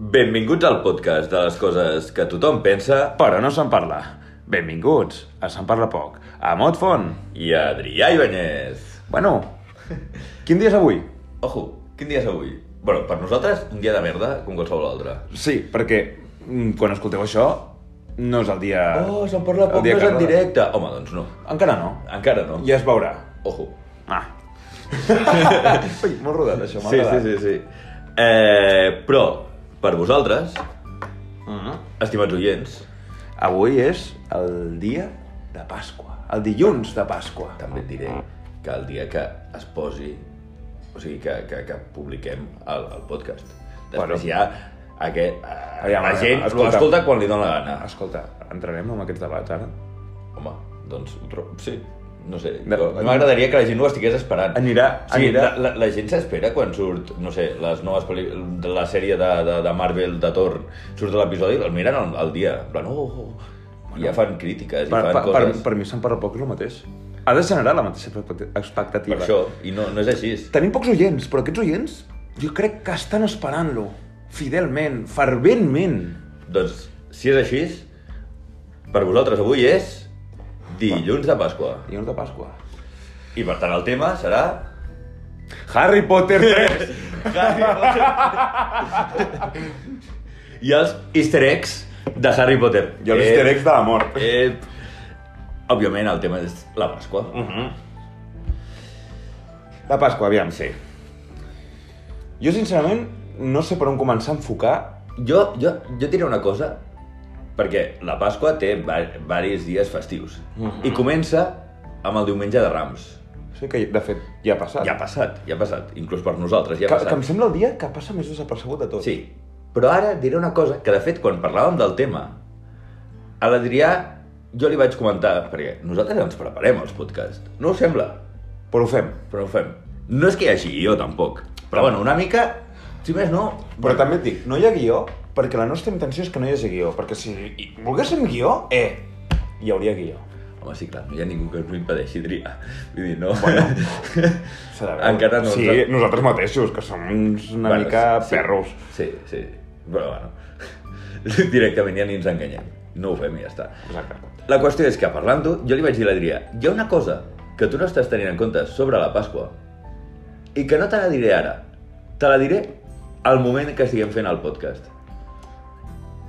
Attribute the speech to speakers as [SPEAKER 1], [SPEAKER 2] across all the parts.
[SPEAKER 1] Benvinguts al podcast de les coses que tothom pensa
[SPEAKER 2] Però no se'n parla. Benvinguts a Se'n Parla Poc, a Motfon.
[SPEAKER 1] i Adrià Ibáñez.
[SPEAKER 2] Bueno, quin dia és avui?
[SPEAKER 1] Ojo, quin dia és avui? Bueno, per nosaltres, un dia de merda com qualsevol altre.
[SPEAKER 2] Sí, perquè mm, quan escolteu això no és el dia...
[SPEAKER 1] Oh, se'n parla
[SPEAKER 2] el
[SPEAKER 1] poc,
[SPEAKER 2] dia
[SPEAKER 1] no és en
[SPEAKER 2] que-
[SPEAKER 1] directe. Home, doncs no.
[SPEAKER 2] Encara no.
[SPEAKER 1] Encara no.
[SPEAKER 2] Ja es veurà.
[SPEAKER 1] Ojo.
[SPEAKER 2] Ah. Ui, molt rodat, això. m'ha
[SPEAKER 1] Sí, sí,
[SPEAKER 2] agradat.
[SPEAKER 1] sí, sí. Eh, però, per vosaltres,
[SPEAKER 2] Mhm.
[SPEAKER 1] estimats oients,
[SPEAKER 2] Avui és el dia de Pasqua. El dilluns de Pasqua.
[SPEAKER 1] també et diré que el dia que es posi, o sigui, que, que, que publiquem el, el podcast.
[SPEAKER 2] Bueno.
[SPEAKER 1] Després ja aquest, eh,
[SPEAKER 2] Aviam,
[SPEAKER 1] la
[SPEAKER 2] aviam,
[SPEAKER 1] gent
[SPEAKER 2] escolta.
[SPEAKER 1] l'escolta quan li dóna la gana.
[SPEAKER 2] Escolta, entrarem en aquests debats ara?
[SPEAKER 1] Home, doncs ho tro- sí, no sé.
[SPEAKER 2] De-
[SPEAKER 1] jo- a mi M'agradaria que la gent ho estigués esperant.
[SPEAKER 2] Anirà-
[SPEAKER 1] sí, La,
[SPEAKER 2] anirà-
[SPEAKER 1] la, la gent s'espera quan surt, no sé, les noves pel·li... de la sèrie de, de, de Marvel de Thor, surt de l'episodi, el miren al, al dia. En plan, oh, oh. Bueno, ja fan crítiques i
[SPEAKER 2] Per,
[SPEAKER 1] fan
[SPEAKER 2] per, per,
[SPEAKER 1] coses.
[SPEAKER 2] per mi se'n parla poc és el mateix. Ha de generar la mateixa expectativa.
[SPEAKER 1] per això, i no, no és així.
[SPEAKER 2] Tenim pocs oients, però aquests oients jo crec que estan esperant-lo fidelment, ferventment.
[SPEAKER 1] Doncs, si és així, per vosaltres avui és dilluns de Pasqua.
[SPEAKER 2] Dilluns de Pasqua.
[SPEAKER 1] I per tant el tema serà...
[SPEAKER 2] Harry Potter 3!
[SPEAKER 1] Harry Potter. I els easter eggs de Harry Potter.
[SPEAKER 2] I els easter eggs de la mort.
[SPEAKER 1] Eh, òbviament, el tema és la Pasqua. Mm.
[SPEAKER 2] La Mhm. Pasqua, aviam, sí. Jo, sincerament, no sé per on començar a enfocar...
[SPEAKER 1] Jo, jo, jo et diré una cosa, perquè la Pasqua té diversos dies festius.
[SPEAKER 2] Mhm.
[SPEAKER 1] I comença amb el diumenge de Rams.
[SPEAKER 2] Sé que, de fet, ja ha passat.
[SPEAKER 1] Ja ha passat, ja ha passat. Inclús per nosaltres ja ha
[SPEAKER 2] que,
[SPEAKER 1] passat.
[SPEAKER 2] que em sembla el dia que passa més desapercebut de tot.
[SPEAKER 1] Sí, però ara et diré una cosa, que de fet quan parlàvem del tema, a l'Adrià jo li vaig comentar, perquè nosaltres ens preparem els podcasts, no us sembla,
[SPEAKER 2] Però ho fem.
[SPEAKER 1] però ho fem. No és que hi hagi jo tampoc, però bueno, una mica, si més no...
[SPEAKER 2] Però també et dic, no hi ha guió perquè la nostra intenció és que no hi hagi guió. Perquè si hi- volguéssim guió, eh, hi hauria guió.
[SPEAKER 1] Home, sí, clar, no hi ha ningú que ens ho impedeixi, Adrià. Vull dir, no... Bueno,
[SPEAKER 2] S'ha de veure.
[SPEAKER 1] Encara no.
[SPEAKER 2] Sí, nosaltres mateixos, que som uns una bueno, mica sí. perros.
[SPEAKER 1] Sí, sí, però bueno, directament ja ni ens enganyem. No ho fem i ja està.
[SPEAKER 2] Exacte.
[SPEAKER 1] La qüestió és que parlant-ho, jo li vaig dir a l'Adrià, hi ha una cosa que tu no estàs tenint en compte sobre la Pasqua i que no te la diré ara, te la diré al moment que estiguem fent el podcast.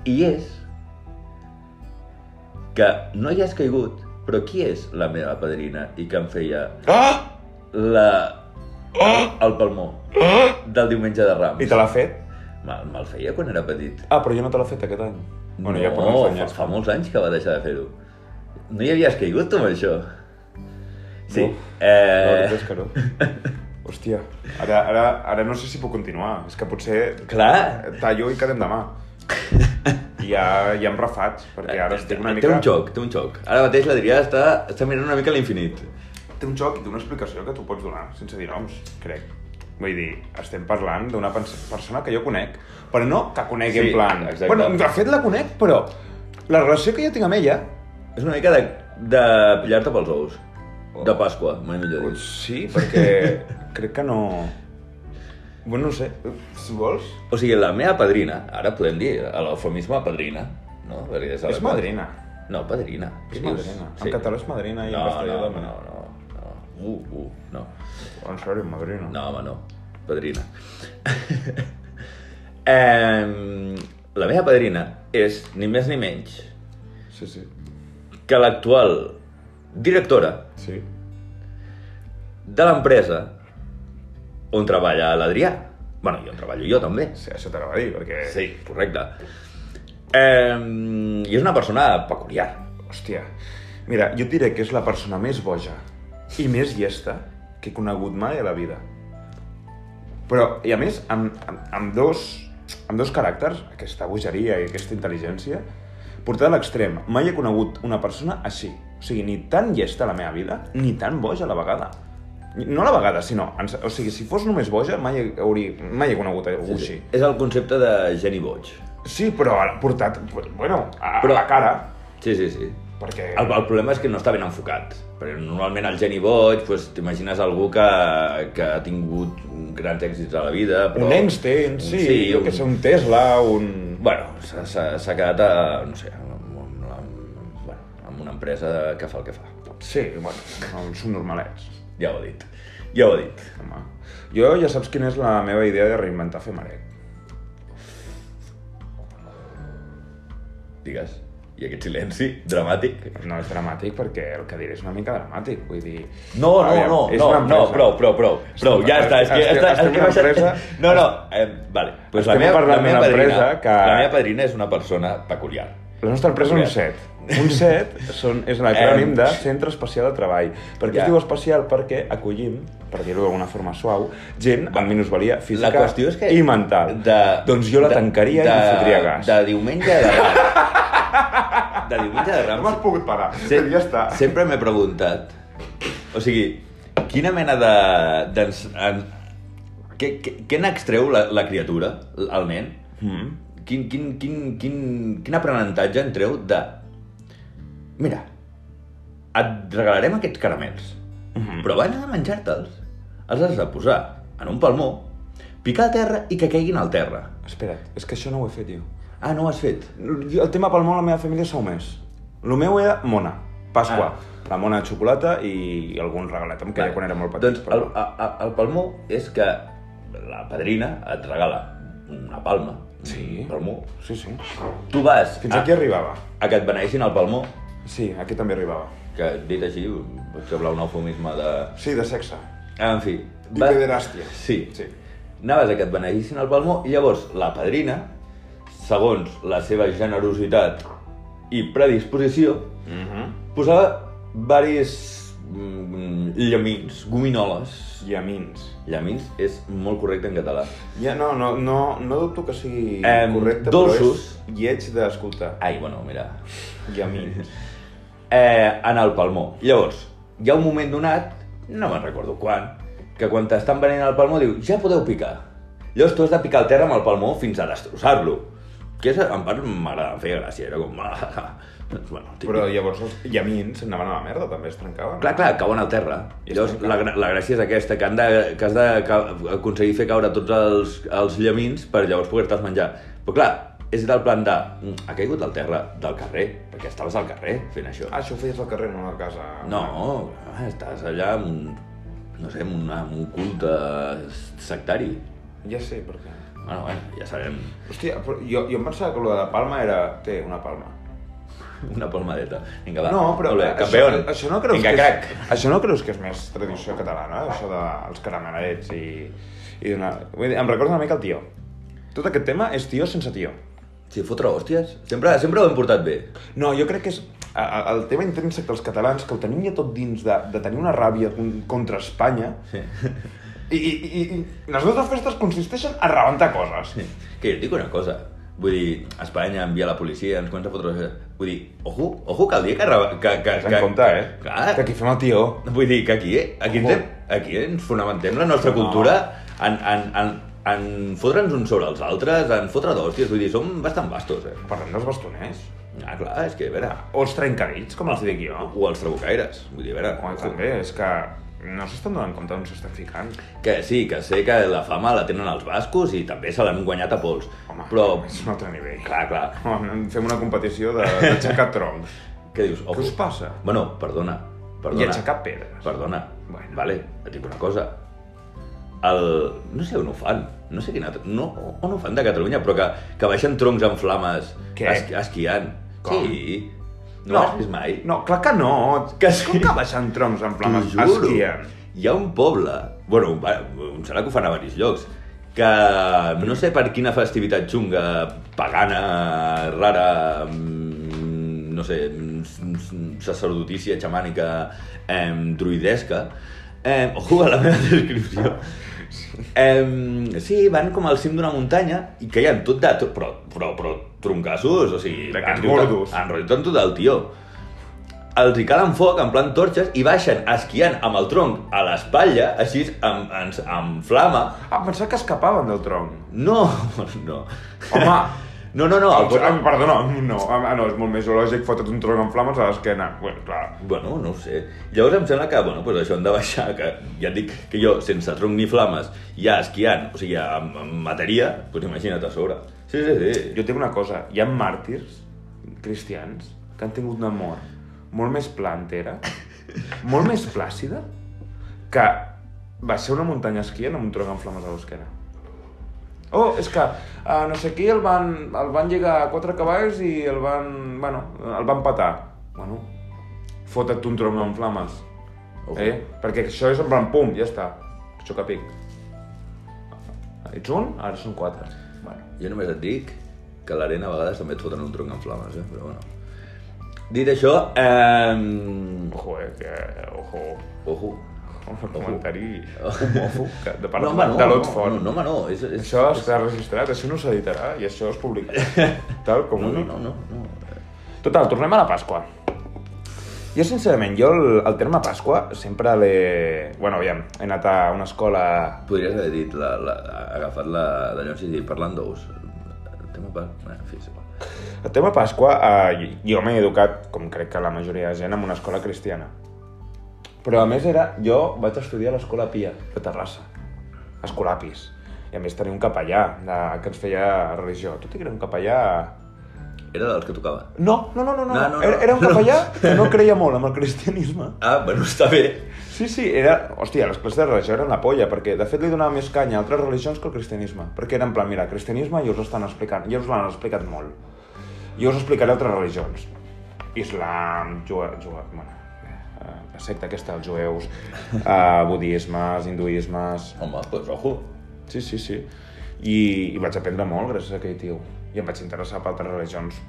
[SPEAKER 1] I és que no hi has caigut, però qui és la meva padrina i que em feia
[SPEAKER 2] Ah!
[SPEAKER 1] la... el palmó
[SPEAKER 2] Ah!
[SPEAKER 1] del diumenge de
[SPEAKER 2] I
[SPEAKER 1] Rams?
[SPEAKER 2] te l'ha fet?
[SPEAKER 1] Me'l me feia quan era petit.
[SPEAKER 2] Ah, però jo no te l'ha fet aquest any. Bueno, ja fa
[SPEAKER 1] no,
[SPEAKER 2] molts
[SPEAKER 1] fa,
[SPEAKER 2] anys.
[SPEAKER 1] fa molts anys que va deixar de fer-ho. No hi havies caigut, tu, amb això? Sí.
[SPEAKER 2] No. No, la
[SPEAKER 1] eh...
[SPEAKER 2] veritat és que no. Hòstia, ara, ara, ara no sé si puc continuar. És que potser
[SPEAKER 1] Clar.
[SPEAKER 2] tallo i quedem demà. I ja, ja em refaig, perquè ara estic una mica...
[SPEAKER 1] Té un xoc, té un xoc. Ara mateix l'Adrià està, està mirant una mica a l'infinit.
[SPEAKER 2] Té un xoc i té una explicació que tu pots donar, sense dir noms, crec. Vull dir, estem parlant d'una pens- persona que jo conec, però no que conec
[SPEAKER 1] Sí,
[SPEAKER 2] en plan...
[SPEAKER 1] exacte.
[SPEAKER 2] Bueno, de fet la conec, però la relació que jo tinc amb ella...
[SPEAKER 1] És una mica de, de pillar-te pels ous.
[SPEAKER 2] Oh.
[SPEAKER 1] De Pasqua, mai millor
[SPEAKER 2] Doncs
[SPEAKER 1] dit.
[SPEAKER 2] sí, perquè crec que no... Bueno, no ho sé, si vols...
[SPEAKER 1] O sigui, la meva padrina, ara podem dir a l'eufemisme padrina, no? Perquè ja
[SPEAKER 2] És
[SPEAKER 1] sabem-
[SPEAKER 2] madrina.
[SPEAKER 1] No, padrina.
[SPEAKER 2] És
[SPEAKER 1] Què dius?
[SPEAKER 2] madrina. En català és madrina i en
[SPEAKER 1] no,
[SPEAKER 2] castellà
[SPEAKER 1] no,
[SPEAKER 2] dona.
[SPEAKER 1] no, no, no. Uh, uh, no.
[SPEAKER 2] En sèrio, madrina.
[SPEAKER 1] No, home, no. Padrina. eh, la meva padrina és ni més ni menys
[SPEAKER 2] Sí, sí.
[SPEAKER 1] que l'actual directora
[SPEAKER 2] Sí.
[SPEAKER 1] de l'empresa on treballa l'Adrià. bueno, i on treballo jo també.
[SPEAKER 2] sí això te la va dir, perquè...
[SPEAKER 1] Sí, correcte. Eh, I és una persona peculiar.
[SPEAKER 2] Hòstia, mira, jo et diré que és la persona més boja i més llesta que he conegut mai a la vida. Però, i a més, amb, amb, amb, dos, amb dos caràcters, aquesta bogeria i aquesta intel·ligència, portada a l'extrem. Mai he conegut una persona així. O sigui, ni tan llesta a la meva vida, ni tan boja a la vegada. Ni- No a la vegada, sinó... En, o sigui, si fos només boja, mai, he- hauria, mai he conegut algú
[SPEAKER 1] És,
[SPEAKER 2] així.
[SPEAKER 1] és el concepte de geni boig.
[SPEAKER 2] Sí, però ara portat, bueno, a,
[SPEAKER 1] Però-
[SPEAKER 2] a la cara,
[SPEAKER 1] Sí, sí, sí.
[SPEAKER 2] perquè...
[SPEAKER 1] El, el problema és que no està ben enfocat. Perquè normalment el geni boig, doncs, t'imagines algú que, que ha tingut un grans èxits a la vida, però...
[SPEAKER 2] Un Einstein, sí, sí un... que sé, un Tesla, un...
[SPEAKER 1] Bueno, s'ha- s'ha s'ha quedat, a, no sé, amb, amb, amb, bueno, amb una empresa que fa el que fa.
[SPEAKER 2] Sí, bueno, uns subnormalets.
[SPEAKER 1] Ja ho ha dit. Ja ho ha dit.
[SPEAKER 2] Home. Jo ja saps quina és la meva idea de reinventar Femarec.
[SPEAKER 1] Digues. I aquest silenci dramàtic.
[SPEAKER 2] No és dramàtic perquè el que diré és una mica dramàtic, vull dir...
[SPEAKER 1] No, no,
[SPEAKER 2] Aviam,
[SPEAKER 1] no,
[SPEAKER 2] és
[SPEAKER 1] no,
[SPEAKER 2] una
[SPEAKER 1] no,
[SPEAKER 2] empresa.
[SPEAKER 1] prou, prou, prou, prou, ja està, és que...
[SPEAKER 2] Estem-
[SPEAKER 1] està, és que
[SPEAKER 2] estem en una
[SPEAKER 1] m'ha-
[SPEAKER 2] empresa-
[SPEAKER 1] No, no, eh, vale, pues la
[SPEAKER 2] Estem
[SPEAKER 1] meva, la
[SPEAKER 2] parlant
[SPEAKER 1] meva
[SPEAKER 2] d'una
[SPEAKER 1] padrina,
[SPEAKER 2] empresa que-
[SPEAKER 1] la meva padrina és una persona peculiar.
[SPEAKER 2] La nostra empresa és un
[SPEAKER 1] Mira.
[SPEAKER 2] 7. Un 7 són, és l'acrònim de Centre Especial de Treball. Per què
[SPEAKER 1] Ja.
[SPEAKER 2] es diu especial? Perquè acollim, per dir-ho d'alguna forma suau, gent amb minusvalia física
[SPEAKER 1] la qüestió és que...
[SPEAKER 2] i mental.
[SPEAKER 1] De,
[SPEAKER 2] doncs jo la tancaria i em fotria gas.
[SPEAKER 1] De diumenge de Rams. de diumenge de Rams.
[SPEAKER 2] pogut parar,
[SPEAKER 1] Se- Sempre m'he preguntat... O sigui, quina mena de... de en, què, què, què n'extreu la, la criatura, l- el nen?
[SPEAKER 2] Mm.
[SPEAKER 1] Quin, quin, quin, quin, quin aprenentatge en treu de... Mira, et regalarem aquests caramels,
[SPEAKER 2] Mhm.
[SPEAKER 1] però abans de menjar-te'ls, els has de posar en un palmó, picar a terra i que caiguin al terra.
[SPEAKER 2] Espera't, és que això no ho he fet jo.
[SPEAKER 1] Ah, no ho has fet?
[SPEAKER 2] Jo, El tema pel món, la meva família sou més. El meu era mona, Pasqua.
[SPEAKER 1] Ah.
[SPEAKER 2] La mona de xocolata i algun regalet, em queia quan era molt petit.
[SPEAKER 1] Doncs el, a, a, el palmó és que la padrina et regala una palma,
[SPEAKER 2] Sí.
[SPEAKER 1] un palmó.
[SPEAKER 2] Sí, sí.
[SPEAKER 1] Tu vas
[SPEAKER 2] Fins
[SPEAKER 1] a,
[SPEAKER 2] aquí arribava.
[SPEAKER 1] a que et beneixin el palmó,
[SPEAKER 2] Sí, aquí també arribava.
[SPEAKER 1] que dit així pot semblar un eufemisme de...
[SPEAKER 2] Sí, de sexe.
[SPEAKER 1] Ah, en fi.
[SPEAKER 2] I pederàstia.
[SPEAKER 1] Sí.
[SPEAKER 2] Sí.
[SPEAKER 1] Anaves a que et beneixin el palmó i llavors la padrina, segons la seva generositat i predisposició,
[SPEAKER 2] Mm -hmm.
[SPEAKER 1] Mhm. posava varis mm, llamins, gominoles.
[SPEAKER 2] Llamins.
[SPEAKER 1] Llamins és molt correcte en català.
[SPEAKER 2] Ja no, no, no, no dubto que sigui
[SPEAKER 1] Em,
[SPEAKER 2] correcte,
[SPEAKER 1] dolços.
[SPEAKER 2] però és lleig d'escoltar.
[SPEAKER 1] Ai, bueno, mira.
[SPEAKER 2] Llamins.
[SPEAKER 1] Eh, en el palmó. Llavors, hi ha un moment donat, no me'n recordo quan, que quan t'estan venent el palmó diu, ja podeu picar. Llavors tu has de picar el terra amb el palmó fins a destrossar-lo. Que és, en part, m'agrada, em feia gràcia, era com... doncs, bueno, típic.
[SPEAKER 2] però llavors els llamins anaven a la merda, també es trencaven.
[SPEAKER 1] Clar, clar, cauen al terra.
[SPEAKER 2] I es
[SPEAKER 1] Llavors, la, gra- la gràcia és aquesta, que, han de, que has de ca- aconseguir fer caure tots els, els llamins per llavors poder-te'ls menjar. Però clar, és del plan de... "Mm, Ha caigut al terra del carrer, perquè estaves al carrer fent això.
[SPEAKER 2] Ah, això ho feies al carrer, no a la casa.
[SPEAKER 1] No, clar, estàs allà amb un, no sé, amb, una, amb un culte sectari.
[SPEAKER 2] Ja sé per què.
[SPEAKER 1] Bueno, bueno, ja sabem,
[SPEAKER 2] Hòstia, però jo, jo em pensava que lo de la palma era... Té, una palma.
[SPEAKER 1] una palmadeta. Vinga, va.
[SPEAKER 2] No, però...
[SPEAKER 1] Ole,
[SPEAKER 2] això-
[SPEAKER 1] campeón.
[SPEAKER 2] Això, no creus
[SPEAKER 1] Vinga,
[SPEAKER 2] que
[SPEAKER 1] crac.
[SPEAKER 2] És, això no creus que és més tradició catalana, eh, això dels caramelets i... i una... Vull dir, em recorda una mica el tio. Tot aquest tema és tio sense tio.
[SPEAKER 1] Si fotre hòsties, sempre, sempre ho hem portat bé.
[SPEAKER 2] No, jo crec que és a- a- el tema intrínsec dels catalans, que el tenim ja tot dins de, de tenir una ràbia con- contra Espanya,
[SPEAKER 1] Sí.
[SPEAKER 2] i, i, i, i les nostres festes consisteixen a rebentar coses.
[SPEAKER 1] Que jo et dic una cosa, vull dir, Espanya envia la policia, ens comença a fotre... Vull dir, ojo, ojo que el dia que... reba- que, que,
[SPEAKER 2] Tens
[SPEAKER 1] que
[SPEAKER 2] en compte, eh?
[SPEAKER 1] Clar,
[SPEAKER 2] Que aquí fem el tio.
[SPEAKER 1] Vull dir que aquí, eh, aquí, ens,
[SPEAKER 2] Ojo.
[SPEAKER 1] hem, aquí ens fonamentem la nostra cultura en, en, en, en fotre'ns uns sobre els altres, en fotre d'hòsties, vull dir, som bastant bastos, eh?
[SPEAKER 2] Parlem dels bastoners.
[SPEAKER 1] Ah, clar, és que, a veure,
[SPEAKER 2] O els trencadits, com els dic jo.
[SPEAKER 1] o els trabucaires, vull dir, a veure...
[SPEAKER 2] Home, també, és que no s'estan donant compte on s'estan ficant.
[SPEAKER 1] Que sí, que sé que la fama la tenen els bascos i també se l'han guanyat a pols,
[SPEAKER 2] Home,
[SPEAKER 1] però...
[SPEAKER 2] és un altre nivell.
[SPEAKER 1] Clar, clar,
[SPEAKER 2] Home, fem una competició de- d'aixecar troncs.
[SPEAKER 1] què dius?
[SPEAKER 2] Què us passa?
[SPEAKER 1] Bueno, perdona, perdona.
[SPEAKER 2] I aixecar pedres.
[SPEAKER 1] Perdona,
[SPEAKER 2] Bueno.
[SPEAKER 1] vale, et dic una cosa. El... No sé on ho fan, no sé quin altre... No, on ho fan de Catalunya, però que, que baixen troncs en flames
[SPEAKER 2] Què?
[SPEAKER 1] esqui- esquiant.
[SPEAKER 2] Com?
[SPEAKER 1] Sí, no, no. has vist mai?
[SPEAKER 2] No, clar que no.
[SPEAKER 1] Que sí.
[SPEAKER 2] Com que baixen troncs en plan
[SPEAKER 1] T'ho juro.
[SPEAKER 2] esquiant?
[SPEAKER 1] Hi ha un poble, bueno, va, em sembla que ho fan a diversos llocs, que no sé per quina festivitat xunga, pagana, rara, mm, no sé, mm, sacerdotícia xamànica, em, druidesca, em, ojo a la meva descripció, em, sí, van com al cim d'una muntanya i caien tot de... tro- Però, però, però troncassos, o sigui...
[SPEAKER 2] D'aquests
[SPEAKER 1] enrotllant-
[SPEAKER 2] gordos.
[SPEAKER 1] Enrotllant tot el tio els hi calen foc en plan torxes i baixen esquiant amb el tronc a l'espatlla, així amb, amb, amb flama.
[SPEAKER 2] Ah, pensava que escapaven del tronc.
[SPEAKER 1] No, no.
[SPEAKER 2] Home,
[SPEAKER 1] No, no, no.
[SPEAKER 2] Ah,
[SPEAKER 1] El pot...
[SPEAKER 2] ah, perdona, no, ah, no, és molt més zoològic fotre't un tronc en flames a l'esquena. Bueno, clar.
[SPEAKER 1] Bueno, no ho sé. Llavors em sembla que, bueno, pues això hem de baixar, que ja et dic que jo, sense tronc ni flames, ja esquiant, o sigui, ja em, em mataria, doncs imagina't a sobre. Sí, sí, sí.
[SPEAKER 2] Jo tinc una cosa, hi ha màrtirs cristians que han tingut una mort molt més plantera, molt més plàcida, que baixar una muntanya esquiant amb un tronc amb flames a l'esquena. Oh, és que a no sé qui el van, el van lligar a quatre cavalls i el van, bueno, el van petar. Bueno, fota't un tronc amb flames.
[SPEAKER 1] Ojo.
[SPEAKER 2] Eh? Perquè això és en plan, pum, ja està. Xoca pic. Ets un, ara són quatre. Bueno.
[SPEAKER 1] Jo només et dic que a l'arena a vegades també et foten un tronc en flames, eh? però bueno. Dit això, eh...
[SPEAKER 2] Ojo, eh, que... Ojo.
[SPEAKER 1] ojo.
[SPEAKER 2] Un comentari
[SPEAKER 1] Ojo.
[SPEAKER 2] homòfob que- de part
[SPEAKER 1] no,
[SPEAKER 2] Oh. no,
[SPEAKER 1] home,
[SPEAKER 2] de,
[SPEAKER 1] no,
[SPEAKER 2] de l'Ot
[SPEAKER 1] no, no, home, no, és, és...
[SPEAKER 2] Això està registrat, això no s'editarà i això es publicarà. Tal com
[SPEAKER 1] No,
[SPEAKER 2] ho
[SPEAKER 1] no,
[SPEAKER 2] dic.
[SPEAKER 1] no, no, no.
[SPEAKER 2] Total, tornem a la Pasqua. Jo, sincerament, jo el, el terme Pasqua sempre l'he... Bueno, aviam, he anat a una escola...
[SPEAKER 1] Podries haver dit, la, la, agafat la de Llonsis i dir, parlant d'ous. El tema per... Eh, en fi, és igual.
[SPEAKER 2] El tema Pasqua, eh, jo m'he educat, com crec que la majoria de gent, en una escola cristiana. Però a més era... Jo vaig estudiar a l'escola Pia, de Terrassa. Escolapis. I a més tenia un capellà de, que ens feia religió. Tot i que era un capellà...
[SPEAKER 1] Era dels que tocava.
[SPEAKER 2] No, no, no, no,
[SPEAKER 1] No,
[SPEAKER 2] no.
[SPEAKER 1] no, no.
[SPEAKER 2] Era, era un capellà que no creia molt en el cristianisme.
[SPEAKER 1] Ah, bueno, està bé.
[SPEAKER 2] Sí, sí, era... Hòstia, les classes de religió eren la polla, perquè de fet li donava més canya a altres religions que el cristianisme. Perquè era en plan, mira, el cristianisme ja us estan explicant, ja us l'han explicat molt. Jo us explicaré altres religions. Islam, jue... jue... Bueno, eh, la secta aquesta, els jueus, eh, budismes, hinduismes...
[SPEAKER 1] Home, doncs ojo.
[SPEAKER 2] Sí, sí, sí. I, I vaig aprendre molt gràcies a aquell tio. I em vaig interessar per altres religions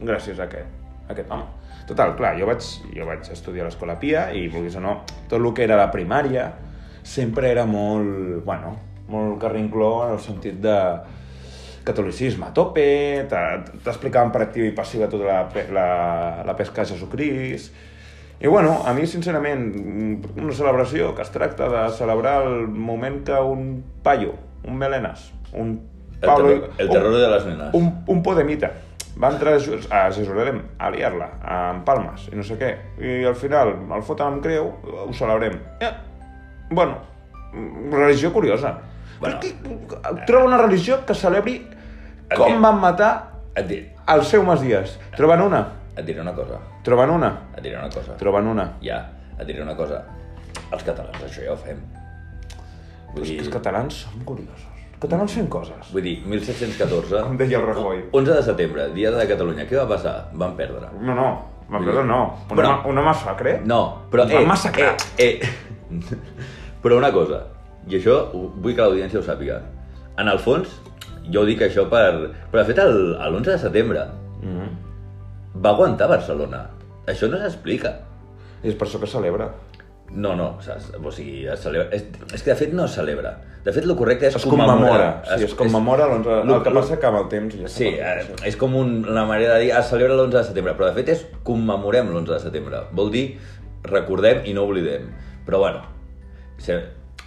[SPEAKER 2] gràcies a aquest, a aquest home. Total, clar, jo vaig, jo vaig estudiar a l'escola Pia i, vulguis o no, tot el que era la primària sempre era molt, bueno, molt carrincló en el sentit de catolicisme a tope, t'a- t'explicaven per activa i passiva tota la, pe- la, la pesca a Jesucrist, i bueno, a mi sincerament, mm, una celebració que es tracta de celebrar el moment que un paio, un melenas, un
[SPEAKER 1] El, terror, el terror de les nenes.
[SPEAKER 2] un, un podemita va entrar a Jes- a Jerusalem a liar-la, amb palmes i no sé què. I al final el foten amb creu, ho celebrem. Eh, bueno, mm, religió curiosa.
[SPEAKER 1] Bueno.
[SPEAKER 2] Bueno. Que, troba una religió que celebri
[SPEAKER 1] El
[SPEAKER 2] com
[SPEAKER 1] que-
[SPEAKER 2] van matar
[SPEAKER 1] Et, dir,
[SPEAKER 2] el seu Masies. Troben una,
[SPEAKER 1] et diré una cosa.
[SPEAKER 2] troben una,
[SPEAKER 1] Et diré una cosa.
[SPEAKER 2] troben una.
[SPEAKER 1] Ja, et diré una cosa. Els catalans això ja ho fem. Vull
[SPEAKER 2] Però és
[SPEAKER 1] dir,
[SPEAKER 2] que els catalans són curiosos. Els catalans fem coses.
[SPEAKER 1] vull dir 1714...
[SPEAKER 2] Com deia el Rajoy.
[SPEAKER 1] 11 de setembre, dia de Catalunya. Què va passar? Van perdre.
[SPEAKER 2] No, no, va, però no. Un,
[SPEAKER 1] Però-
[SPEAKER 2] home, un home sacre?
[SPEAKER 1] No, però...
[SPEAKER 2] Ens van massacrar.
[SPEAKER 1] Eh, eh. però una cosa, i això ho- vull que l'audiència ho sàpiga. En el fons, jo ho dic això per... Però de fet, el- el 11 de setembre
[SPEAKER 2] Mm
[SPEAKER 1] va aguantar Barcelona. Això no s'explica.
[SPEAKER 2] I és per això que celebra.
[SPEAKER 1] No, no, saps? O sigui, es celebra... És, és que de fet no es celebra. De fet, el correcte és
[SPEAKER 2] Es commemora.
[SPEAKER 1] commemorar.
[SPEAKER 2] Sí, es commemora l'11...
[SPEAKER 1] lo-
[SPEAKER 2] El que
[SPEAKER 1] lo-
[SPEAKER 2] passa que amb el temps ja
[SPEAKER 1] Sí,
[SPEAKER 2] s'apaga,
[SPEAKER 1] eh, és com un, una manera de dir es celebra l'11 de setembre, però de fet és commemorem l'11 de setembre. Vol dir recordem i no oblidem. Però bueno, se,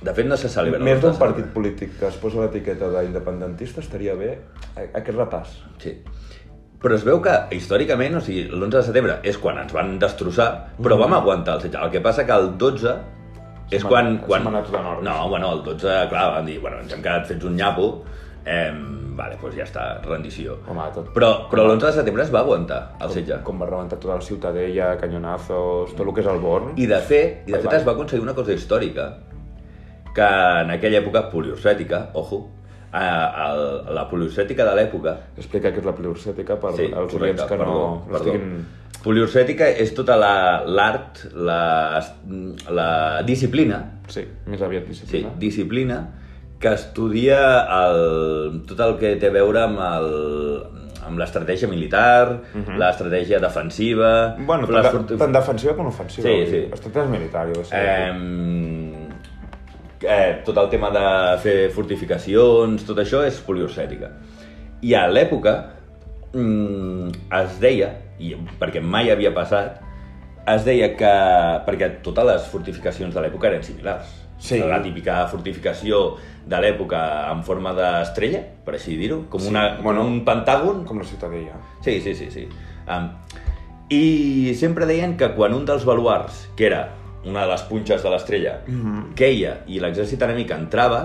[SPEAKER 1] de fet no se celebra
[SPEAKER 2] Més
[SPEAKER 1] l'11
[SPEAKER 2] d'un
[SPEAKER 1] de
[SPEAKER 2] partit polític que es posa l'etiqueta d'independentista estaria bé a- aquest repàs.
[SPEAKER 1] setembre. Sí. Però es veu que històricament, o sigui, l'11 de setembre és quan ens van destrossar, però vam aguantar el setge. El que passa que el 12 és
[SPEAKER 2] Mm.
[SPEAKER 1] quan...
[SPEAKER 2] Setmana-
[SPEAKER 1] quan...
[SPEAKER 2] setmanats de Norris.
[SPEAKER 1] No, bueno, el 12, clar, van dir, bueno, ens hem quedat fets un nyapo, eh, vale, doncs ja està, rendició.
[SPEAKER 2] Home, tot-
[SPEAKER 1] Però, però l'11 de setembre es va aguantar el setge.
[SPEAKER 2] Com va rebentar tota la ciutadella, canyonazos, tot el que és el Born.
[SPEAKER 1] I de fet, i de
[SPEAKER 2] Bye,
[SPEAKER 1] fet
[SPEAKER 2] bye.
[SPEAKER 1] es va aconseguir una cosa històrica, que en aquella època poliursètica, ojo, a, a, la poliursètica de l'època...
[SPEAKER 2] Explica què és la pliurcètica per als oients que
[SPEAKER 1] perdó,
[SPEAKER 2] no, no
[SPEAKER 1] perdó.
[SPEAKER 2] estiguin...
[SPEAKER 1] Poliursètica és tota la- l'art, la, la, disciplina,
[SPEAKER 2] Sí, més aviat
[SPEAKER 1] sí,
[SPEAKER 2] disciplina.
[SPEAKER 1] disciplina, que estudia el, tot el que té a veure amb el amb l'estratègia militar, l'estratègia defensiva...
[SPEAKER 2] Bueno,
[SPEAKER 1] les
[SPEAKER 2] tant,
[SPEAKER 1] forti-
[SPEAKER 2] de, tant defensiva com ofensiva.
[SPEAKER 1] Sí,
[SPEAKER 2] vull dir,
[SPEAKER 1] sí.
[SPEAKER 2] Estratègia militar, jo què sé.
[SPEAKER 1] Eh, eh, tot el tema de fer fortificacions, tot això és poliursètica. I a l'època mm, es deia, i perquè mai havia passat, es deia que... perquè totes les fortificacions de l'època eren similars.
[SPEAKER 2] Sí.
[SPEAKER 1] la típica fortificació de l'època en forma d'estrella, per així dir-ho, com,
[SPEAKER 2] Sí,
[SPEAKER 1] una,
[SPEAKER 2] bueno.
[SPEAKER 1] com un pentàgon.
[SPEAKER 2] Com la ciutadella.
[SPEAKER 1] Sí, sí, sí. sí. Um, I sempre deien que quan un dels baluars, que era una de les punxes de l'estrella,
[SPEAKER 2] Mhm.
[SPEAKER 1] queia i l'exèrcit enemic entrava,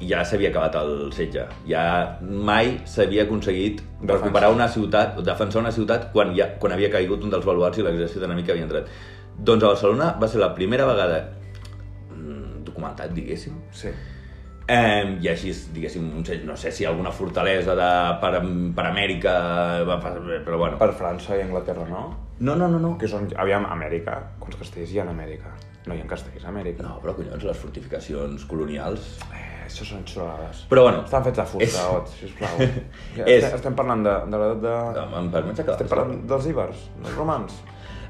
[SPEAKER 1] ja s'havia acabat el setge. Ja mai s'havia aconseguit
[SPEAKER 2] Defensa.
[SPEAKER 1] recuperar una ciutat, defensar una ciutat quan, ja, quan havia caigut un dels baluars i l'exèrcit enemic havia entrat. Doncs a Barcelona va ser la primera vegada mm, documentat, diguéssim,
[SPEAKER 2] Sí.
[SPEAKER 1] Eh, I així, diguéssim, no sé, no sé si alguna fortalesa de, per, per Amèrica, va pas- però bueno.
[SPEAKER 2] Per França i Anglaterra, no?
[SPEAKER 1] No, no, no, no.
[SPEAKER 2] Que són... Aviam, Amèrica. Quants castells hi ha en Amèrica? No hi ha castells a Amèrica.
[SPEAKER 1] No, però collons, les fortificacions colonials...
[SPEAKER 2] Eh, això són xulades.
[SPEAKER 1] Però bueno,
[SPEAKER 2] Estan fets de fusta,
[SPEAKER 1] És-
[SPEAKER 2] és... Ot, sisplau. Ja
[SPEAKER 1] És-
[SPEAKER 2] estem- Estem parlant de, de l'edat de...
[SPEAKER 1] em, em permets
[SPEAKER 2] Estem
[SPEAKER 1] acabar?
[SPEAKER 2] parlant dels íbers, dels romans.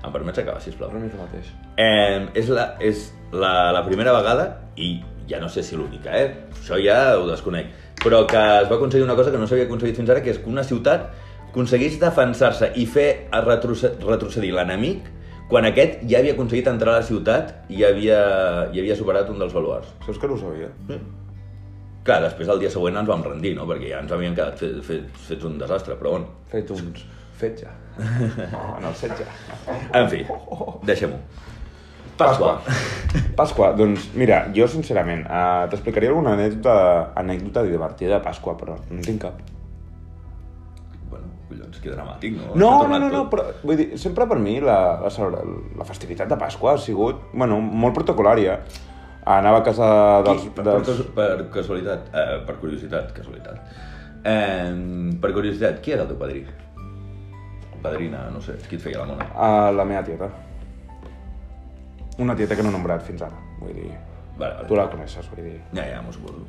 [SPEAKER 1] Em permets acabar, sisplau.
[SPEAKER 2] Però no és el mateix.
[SPEAKER 1] Eh, és la, és la, la primera vegada, i ja no sé si l'única, eh? Això ja ho desconec. Però que es va aconseguir una cosa que no s'havia aconseguit fins ara, que és que una ciutat aconseguís defensar-se i fer a retroce retrocedir l'enemic quan aquest ja havia aconseguit entrar a la ciutat i havia, i havia superat un dels baluars.
[SPEAKER 2] Saps que no ho sabia?
[SPEAKER 1] Clar, després el dia següent ens vam rendir, no? Perquè ja ens havíem quedat fe fe fets un desastre, però bueno.
[SPEAKER 2] Fet uns... Fet ja. No, en el setge.
[SPEAKER 1] En fi, deixem-ho. Pasqua.
[SPEAKER 2] Pasqua, doncs mira, jo sincerament eh, t'explicaré alguna anècdota, anècdota divertida de Pasqua, però no en tinc cap.
[SPEAKER 1] Bueno, collons, que dramàtic, no?
[SPEAKER 2] No,
[SPEAKER 1] S'ha
[SPEAKER 2] no,
[SPEAKER 1] tornat
[SPEAKER 2] no, no,
[SPEAKER 1] tot.
[SPEAKER 2] però vull dir, sempre per mi la, la, celebra- la festivitat de Pasqua ha sigut, bueno, molt protocolària. Anava a casa dels...
[SPEAKER 1] Qui- per, per,
[SPEAKER 2] dels...
[SPEAKER 1] cas- per casualitat, eh, per curiositat, casualitat. Eh, per curiositat, qui era el teu padrí? Padrina, no sé, qui et feia la mona?
[SPEAKER 2] A la meva tieta. Una tieta que no he nombrat fins ara, vull dir...
[SPEAKER 1] Vale, vale.
[SPEAKER 2] Tu la coneixes, vull dir...
[SPEAKER 1] Ja, ja, m'ho suposo.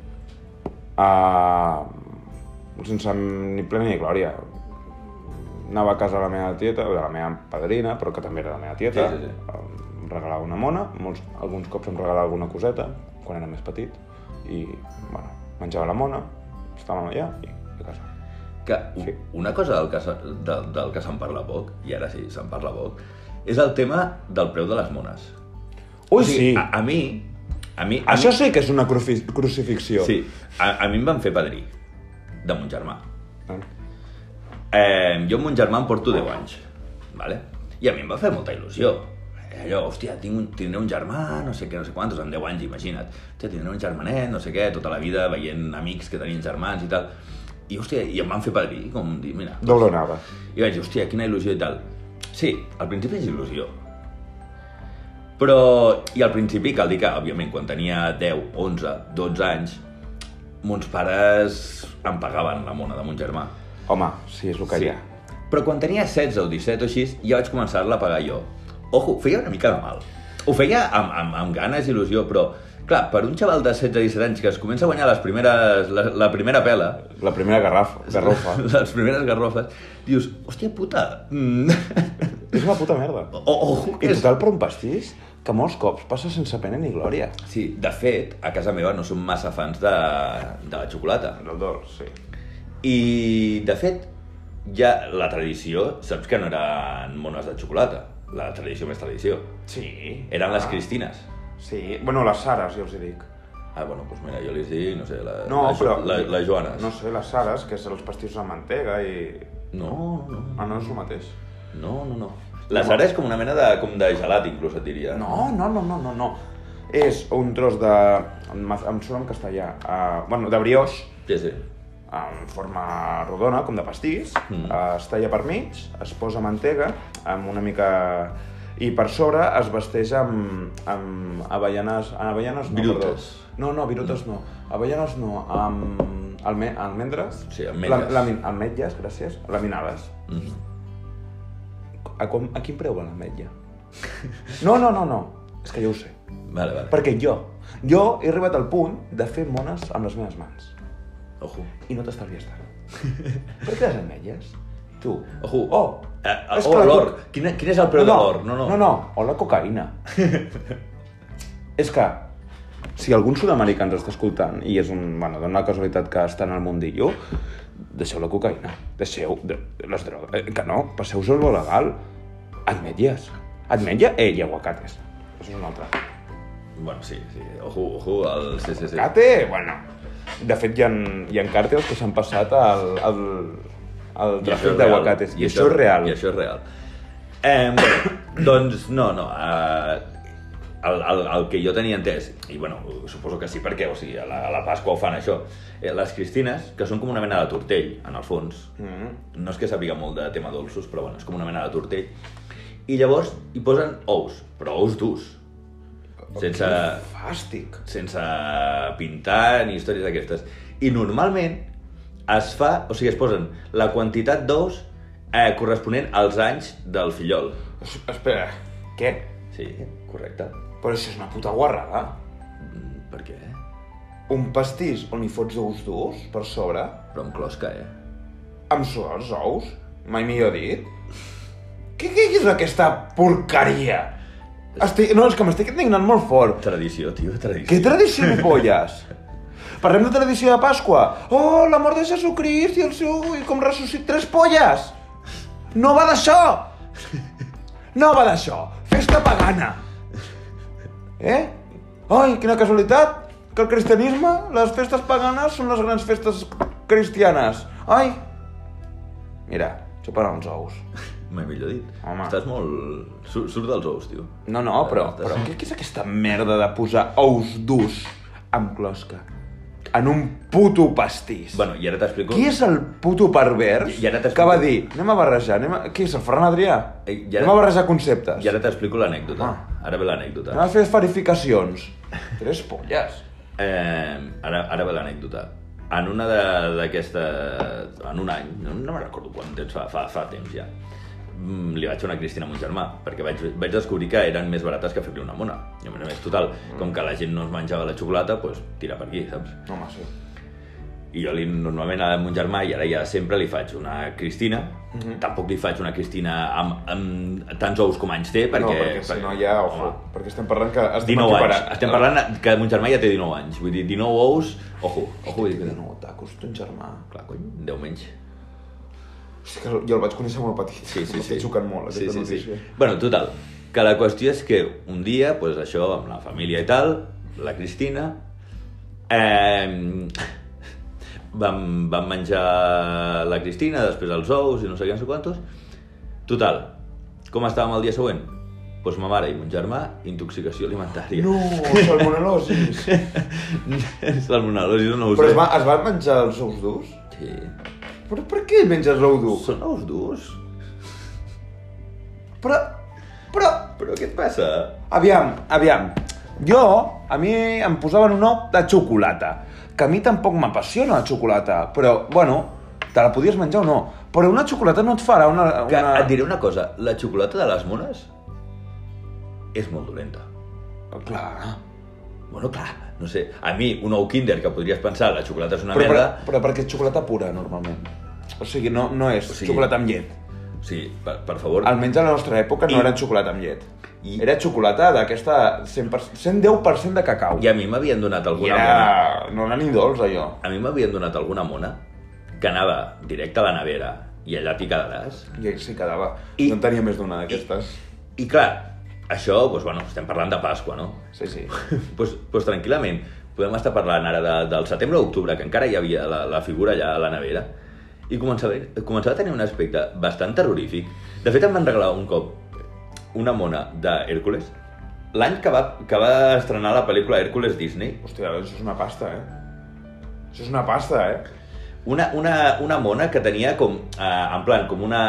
[SPEAKER 2] Uh, sense ni plena ni glòria. Anava a casa de la meva tieta, de la meva padrina, però que també era la meva tieta.
[SPEAKER 1] Sí, sí, sí.
[SPEAKER 2] Em regalava una mona, molts, alguns cops em regalava alguna coseta, quan era més petit, i, bueno, menjava la mona, estàvem allà i a casa.
[SPEAKER 1] Que u-
[SPEAKER 2] Sí.
[SPEAKER 1] una cosa del que, s'ha- del, del que se'n parla poc, i ara sí, se'n parla poc, és el tema del preu de les mones. O
[SPEAKER 2] Ui,
[SPEAKER 1] sigui,
[SPEAKER 2] sí!
[SPEAKER 1] A, a mi... A mi, a
[SPEAKER 2] Això
[SPEAKER 1] mi,
[SPEAKER 2] sí que és una cruci crucifixió.
[SPEAKER 1] Sí, a, a mi em van fer padrí, de mon germà.
[SPEAKER 2] Eh?
[SPEAKER 1] Eh, jo amb un germà em porto 10 anys, vale? i a mi em va fer molta il·lusió. Eh, Allò, hòstia, tinc un, tindré un germà, no sé què, no sé quantos, amb 10 anys, imagina't. Hòstia, tindré un germanet, no sé què, tota la vida veient amics que tenien germans i tal. I, hòstia, i em van fer padrí, com dir, mira...
[SPEAKER 2] Doble onada.
[SPEAKER 1] I vaig dir, hòstia, quina il·lusió i tal. Sí, al principi és il·lusió. Però, i al principi cal dir que, òbviament, quan tenia 10, 11, 12 anys, mons pares em pagaven la mona de mon germà.
[SPEAKER 2] Home, sí, és el que
[SPEAKER 1] Sí.
[SPEAKER 2] hi ha.
[SPEAKER 1] Però quan tenia 16 o 17 o així, ja vaig començar-la a pagar jo. Ojo, feia una mica de mal. Ho feia amb, amb, amb ganes i il·lusió, però... Clar, per un xaval de 16 o 17 anys que es comença a guanyar les primeres, la, la primera pela,
[SPEAKER 2] La primera garrafa, garrofa.
[SPEAKER 1] les primeres garrofes, dius, hòstia puta, mm.
[SPEAKER 2] és una puta merda.
[SPEAKER 1] o, ojo,
[SPEAKER 2] I
[SPEAKER 1] que és...
[SPEAKER 2] total per un pastís que molts cops passa sense pena ni glòria.
[SPEAKER 1] Sí, de fet, a casa meva no som massa fans de, de la xocolata.
[SPEAKER 2] Del dolç, sí.
[SPEAKER 1] I, de fet, ja la tradició, saps que no eren mones de xocolata, la tradició més tradició.
[SPEAKER 2] Sí. Ah,
[SPEAKER 1] Eren les cristines.
[SPEAKER 2] Sí. Bueno, les Sares, jo els hi dic.
[SPEAKER 1] Ah, bueno, doncs mira, jo li dic, no sé, la,
[SPEAKER 2] No,
[SPEAKER 1] la, Jo-
[SPEAKER 2] però...
[SPEAKER 1] la, la Joana.
[SPEAKER 2] No sé, les Sares, que és els pastissos amb mantega i...
[SPEAKER 1] No, no, no.
[SPEAKER 2] Ah, no és el mateix.
[SPEAKER 1] No, no, no. La Sara és com una mena de, com de gelat, inclús, et diria.
[SPEAKER 2] No, no, no, no, no, no. És un tros de... Em, em surt en castellà. Uh, bueno, de brioche,
[SPEAKER 1] Sí, sí.
[SPEAKER 2] en forma rodona, com de pastís,
[SPEAKER 1] Mm.
[SPEAKER 2] mm. es talla per mig, es posa mantega amb una mica... I per sobre es vesteix amb, amb avellanes... amb avellanes no,
[SPEAKER 1] Virutes.
[SPEAKER 2] perdó. No, no, virutes no. Avellanes no, amb alme, almendres.
[SPEAKER 1] Sí, ametlles.
[SPEAKER 2] La, lamin, ametlles, gràcies. Laminades.
[SPEAKER 1] Mm.
[SPEAKER 2] A, com, a quin preu va l'ametlla? No, no, no, no. És que jo ho sé.
[SPEAKER 1] Vale, vale.
[SPEAKER 2] Perquè jo, jo he arribat al punt de fer mones amb les meves mans.
[SPEAKER 1] Ojo.
[SPEAKER 2] i no t'estalvies tant. per què les ametlles? Tu.
[SPEAKER 1] Ojo.
[SPEAKER 2] Oh,
[SPEAKER 1] Eh, eh,
[SPEAKER 2] és que
[SPEAKER 1] oh,
[SPEAKER 2] la
[SPEAKER 1] l'or.
[SPEAKER 2] coca-
[SPEAKER 1] Quin, quin és el preu de l'or? No, no.
[SPEAKER 2] No, no. O la cocaïna. és que, si algun sud-americà ens està escoltant i és un, bueno, d'una casualitat que està en el mundillo, deixeu la cocaïna, deixeu de, les drogues, eh, que no, passeu-vos lo legal. Ametlles. Ametlla, eh, i aguacates. Això és un altre.
[SPEAKER 1] Bueno, sí, sí. Ojo, ojo, el... Sí, sí, sí.
[SPEAKER 2] Cate, bueno... De fet, hi ha, hi ha càrtels que s'han passat al, al, al
[SPEAKER 1] I això
[SPEAKER 2] tràfic
[SPEAKER 1] és real.
[SPEAKER 2] d'aguacates. I, això és real.
[SPEAKER 1] I això és real. Eh, bueno, doncs, no, no. Eh, el, el, el que jo tenia entès, i bueno, suposo que sí, perquè o sigui, a, la, a la Pasqua ho fan això, eh, les cristines, que són com una mena de tortell, en el fons,
[SPEAKER 2] Mm.
[SPEAKER 1] no és que sàpiga molt de tema dolços, però bueno, és com una mena de tortell, i llavors hi posen ous, però ous durs, sense,
[SPEAKER 2] Fàstic.
[SPEAKER 1] sense pintar ni històries d'aquestes. I normalment es fa, o sigui, es posen la quantitat d'ous eh, corresponent als anys del fillol.
[SPEAKER 2] Es, espera, què?
[SPEAKER 1] Sí, correcte.
[SPEAKER 2] Però això és una puta guarrada.
[SPEAKER 1] Mm, Per què?
[SPEAKER 2] Un pastís on hi fots ous durs per sobre,
[SPEAKER 1] Però amb closca, eh?
[SPEAKER 2] amb suar els ous, mai millor dit. Què, què és aquesta porqueria? Estic, no, és que m'estic indignant molt fort.
[SPEAKER 1] Tradició, tio, tradició.
[SPEAKER 2] Que tradició de polles? Parlem de tradició de Pasqua. Oh, la mort de Jesucrist i el seu... i com ressuscit tres polles! No va d'això! No va d'això! Festa pagana! Eh? Ai, quina casualitat! Que el cristianisme, les festes paganes són les grans festes cristianes. Ai! Mira, xupar uns ous.
[SPEAKER 1] Mai millor dit.
[SPEAKER 2] Home.
[SPEAKER 1] Estàs molt... Sur, surt dels ous, tio.
[SPEAKER 2] No, no, però,
[SPEAKER 1] Eh,
[SPEAKER 2] però què, què és aquesta merda de posar ous durs amb closca? En un puto pastís.
[SPEAKER 1] Bueno, i ara t'explico...
[SPEAKER 2] Qui és el puto pervers
[SPEAKER 1] I ara t'explico.
[SPEAKER 2] que va dir anem a barrejar, anem a... Qui és, el Ferran Adrià?
[SPEAKER 1] Eh, i ara-
[SPEAKER 2] Anem a barrejar conceptes.
[SPEAKER 1] I ara t'explico l'anècdota.
[SPEAKER 2] Home.
[SPEAKER 1] Ara ve l'anècdota.
[SPEAKER 2] Anem a fer verificacions. Tres polles.
[SPEAKER 1] Eh, ara, ara ve l'anècdota. En una de- d'aquestes... En un any, no, no me recordo quant temps fa, fa, fa temps ja, mm, li vaig fer una cristina a mon germà, perquè vaig, vaig descobrir que eren més barates que fer-li una mona. I a més a més, total,
[SPEAKER 2] Mm.
[SPEAKER 1] com que la gent no es menjava la xocolata, doncs tira per aquí, saps?
[SPEAKER 2] Home, sí.
[SPEAKER 1] I jo li, normalment a mon germà, i ara ja sempre, li faig una cristina.
[SPEAKER 2] Mm-hmm.
[SPEAKER 1] Tampoc li faig una cristina amb, amb tants ous com anys té, perquè...
[SPEAKER 2] no, perquè si no hi ha... Ojo,
[SPEAKER 1] Home,
[SPEAKER 2] perquè estem parlant que... Estem
[SPEAKER 1] 19 anys.
[SPEAKER 2] equiparant-
[SPEAKER 1] Estem parlant que mon germà ja té 19 anys. Vull dir, 19 ous... Ojo, ojo. Vull dir, que
[SPEAKER 2] Ah, De nou, tacos, ton germà.
[SPEAKER 1] Clar, cony, 10 menys.
[SPEAKER 2] Hosti, que jo el vaig conèixer molt petit.
[SPEAKER 1] Sí, sí, sí.
[SPEAKER 2] M'està xocant molt, aquesta notícia.
[SPEAKER 1] Bueno, total, que la qüestió és que un dia, pues, això, amb la família i tal, la Cristina, eh, vam, vam menjar la Cristina, després els ous i no sé què, no sé quantos. Total, com estàvem el dia següent? Doncs pues ma mare i mon germà, intoxicació alimentària.
[SPEAKER 2] No, salmonellosis.
[SPEAKER 1] Salmonellosis no ho
[SPEAKER 2] Però
[SPEAKER 1] sé.
[SPEAKER 2] es, va, es van menjar els ous durs?
[SPEAKER 1] Sí.
[SPEAKER 2] Però per què menges l'ou dur?
[SPEAKER 1] Són ous durs.
[SPEAKER 2] Però, però,
[SPEAKER 1] Però què et passa?
[SPEAKER 2] aviam, aviam. Jo, a mi em posaven un ou de xocolata, que a mi tampoc m'apassiona la xocolata, però, bueno, te la podies menjar o no. Però una xocolata no et farà una...
[SPEAKER 1] Que
[SPEAKER 2] una...
[SPEAKER 1] et diré una cosa, la xocolata de les mones és molt dolenta.
[SPEAKER 2] Oh, Clar.
[SPEAKER 1] Bueno, clar, no sé, a mi un ou kinder que podries pensar la xocolata és una
[SPEAKER 2] Però, però,
[SPEAKER 1] merda,
[SPEAKER 2] però perquè és xocolata pura, normalment. O sigui, no, no és
[SPEAKER 1] sigui-
[SPEAKER 2] xocolata amb llet.
[SPEAKER 1] sí, per, per favor,
[SPEAKER 2] Almenys a la nostra època no
[SPEAKER 1] I-
[SPEAKER 2] era xocolata amb llet.
[SPEAKER 1] I-
[SPEAKER 2] Era xocolata d'aquesta 100%, 110% de cacau.
[SPEAKER 1] i a mi m'havien donat
[SPEAKER 2] I
[SPEAKER 1] alguna mona,
[SPEAKER 2] era... No era ni dolç, allò.
[SPEAKER 1] a mi m'havien donat alguna mona que anava directe a la nevera i allà t'hi quedaràs.
[SPEAKER 2] I ell s'hi quedava.
[SPEAKER 1] I-
[SPEAKER 2] I... No en tenia més d'una d'aquestes.
[SPEAKER 1] I clar, això, doncs, bueno, estem parlant de Pasqua, no?
[SPEAKER 2] Sí, sí.
[SPEAKER 1] pues, pues tranquil·lament, podem estar parlant ara de, del setembre o octubre, que encara hi havia la, la figura allà a la nevera, i començava, començava a tenir un aspecte bastant terrorífic. De fet, em van regalar un cop una mona d'Hèrcules, l'any que, va, que va estrenar la pel·lícula Hèrcules Disney,
[SPEAKER 2] Hòstia, doncs això és una pasta, eh? Això és una pasta, eh?
[SPEAKER 1] una, una, una mona que tenia com, eh, en plan, com una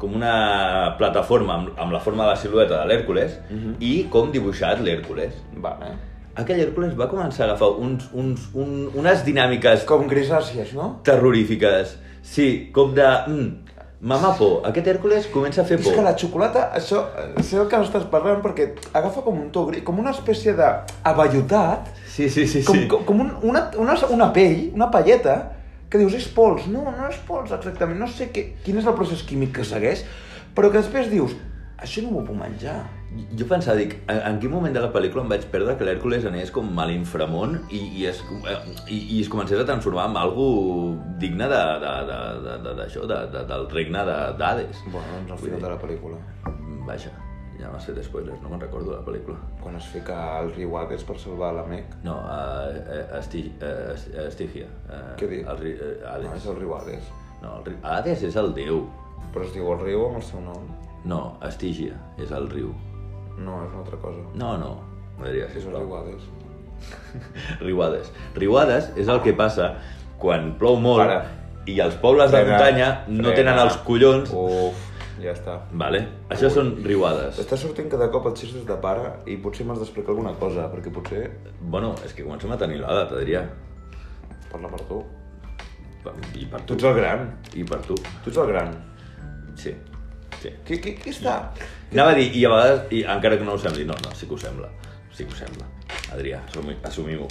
[SPEAKER 1] com una plataforma amb, amb la forma de la silueta de l'Hèrcules
[SPEAKER 2] Mhm.
[SPEAKER 1] i com dibuixat l'Hèrcules.
[SPEAKER 2] Vale.
[SPEAKER 1] Aquell Hèrcules va començar a agafar uns, uns, un, unes dinàmiques
[SPEAKER 2] Com grisàcies, no?
[SPEAKER 1] terrorífiques. Sí, com de... Mm, mama por, aquest Hèrcules comença a fer
[SPEAKER 2] És
[SPEAKER 1] por.
[SPEAKER 2] que la xocolata, això, eh, sé el que estàs parlant perquè agafa com un to gris, com una espècie de avellotat,
[SPEAKER 1] Sí, sí, sí.
[SPEAKER 2] com,
[SPEAKER 1] sí.
[SPEAKER 2] com, com un, una, una, una pell, una palleta, que dius, és pols, no, no és pols exactament, no sé què, quin és el procés químic que segueix, però que després dius, això no m'ho puc menjar.
[SPEAKER 1] Jo pensava, dic, en, en quin moment de la pel·lícula em vaig perdre que l'Hèrcules anés com a l'inframont i, i, es, eh, i, i es comencés a transformar en algú digne de, de, de, de, de, d'això, de, de, del regne de- d'Hades.
[SPEAKER 2] Bueno, doncs al
[SPEAKER 1] Vull
[SPEAKER 2] final
[SPEAKER 1] dir,
[SPEAKER 2] de la pel·lícula.
[SPEAKER 1] Vaja, Ja m'has fet spoilers, no me'n recordo de la pel·lícula.
[SPEAKER 2] Quan es fica al riu Hades per salvar la Mec.
[SPEAKER 1] No, a, a, a, Esti, a, a Estígia. A,
[SPEAKER 2] Què Ah. dic?
[SPEAKER 1] El, ri- a Hades.
[SPEAKER 2] No, és el riu Hades.
[SPEAKER 1] No, el riu. Hades és el déu.
[SPEAKER 2] Però es diu el riu amb el seu nom.
[SPEAKER 1] No, Estígia és el riu.
[SPEAKER 2] No, és una altra cosa.
[SPEAKER 1] No, no. No diria,
[SPEAKER 2] És el
[SPEAKER 1] sisplau.
[SPEAKER 2] riu Hades.
[SPEAKER 1] Riuades. Riuades és el que passa quan plou molt
[SPEAKER 2] Para.
[SPEAKER 1] i els pobles de
[SPEAKER 2] Frena,
[SPEAKER 1] muntanya no
[SPEAKER 2] frena. Oh.
[SPEAKER 1] tenen els collons.
[SPEAKER 2] Uf, ja està.
[SPEAKER 1] Vale? Això són riuades.
[SPEAKER 2] Oh. Està sortint cada cop els xistos de pare i potser m'has d'explicar alguna cosa, perquè potser
[SPEAKER 1] Bueno, és que comencem a tenir l'edat, Adrià.
[SPEAKER 2] parla per tu.
[SPEAKER 1] Per- I per
[SPEAKER 2] Tu
[SPEAKER 1] tu.
[SPEAKER 2] ets el gran.
[SPEAKER 1] I per tu.
[SPEAKER 2] Tu ets el gran.
[SPEAKER 1] Sí. Sí.
[SPEAKER 2] Qui, qui, qui està?
[SPEAKER 1] Anava a dir, i a vegades, i encara que no ho sembli, no, no, sí que ho sembla. Sí que ho sembla. Adrià, assumi- assumim-ho.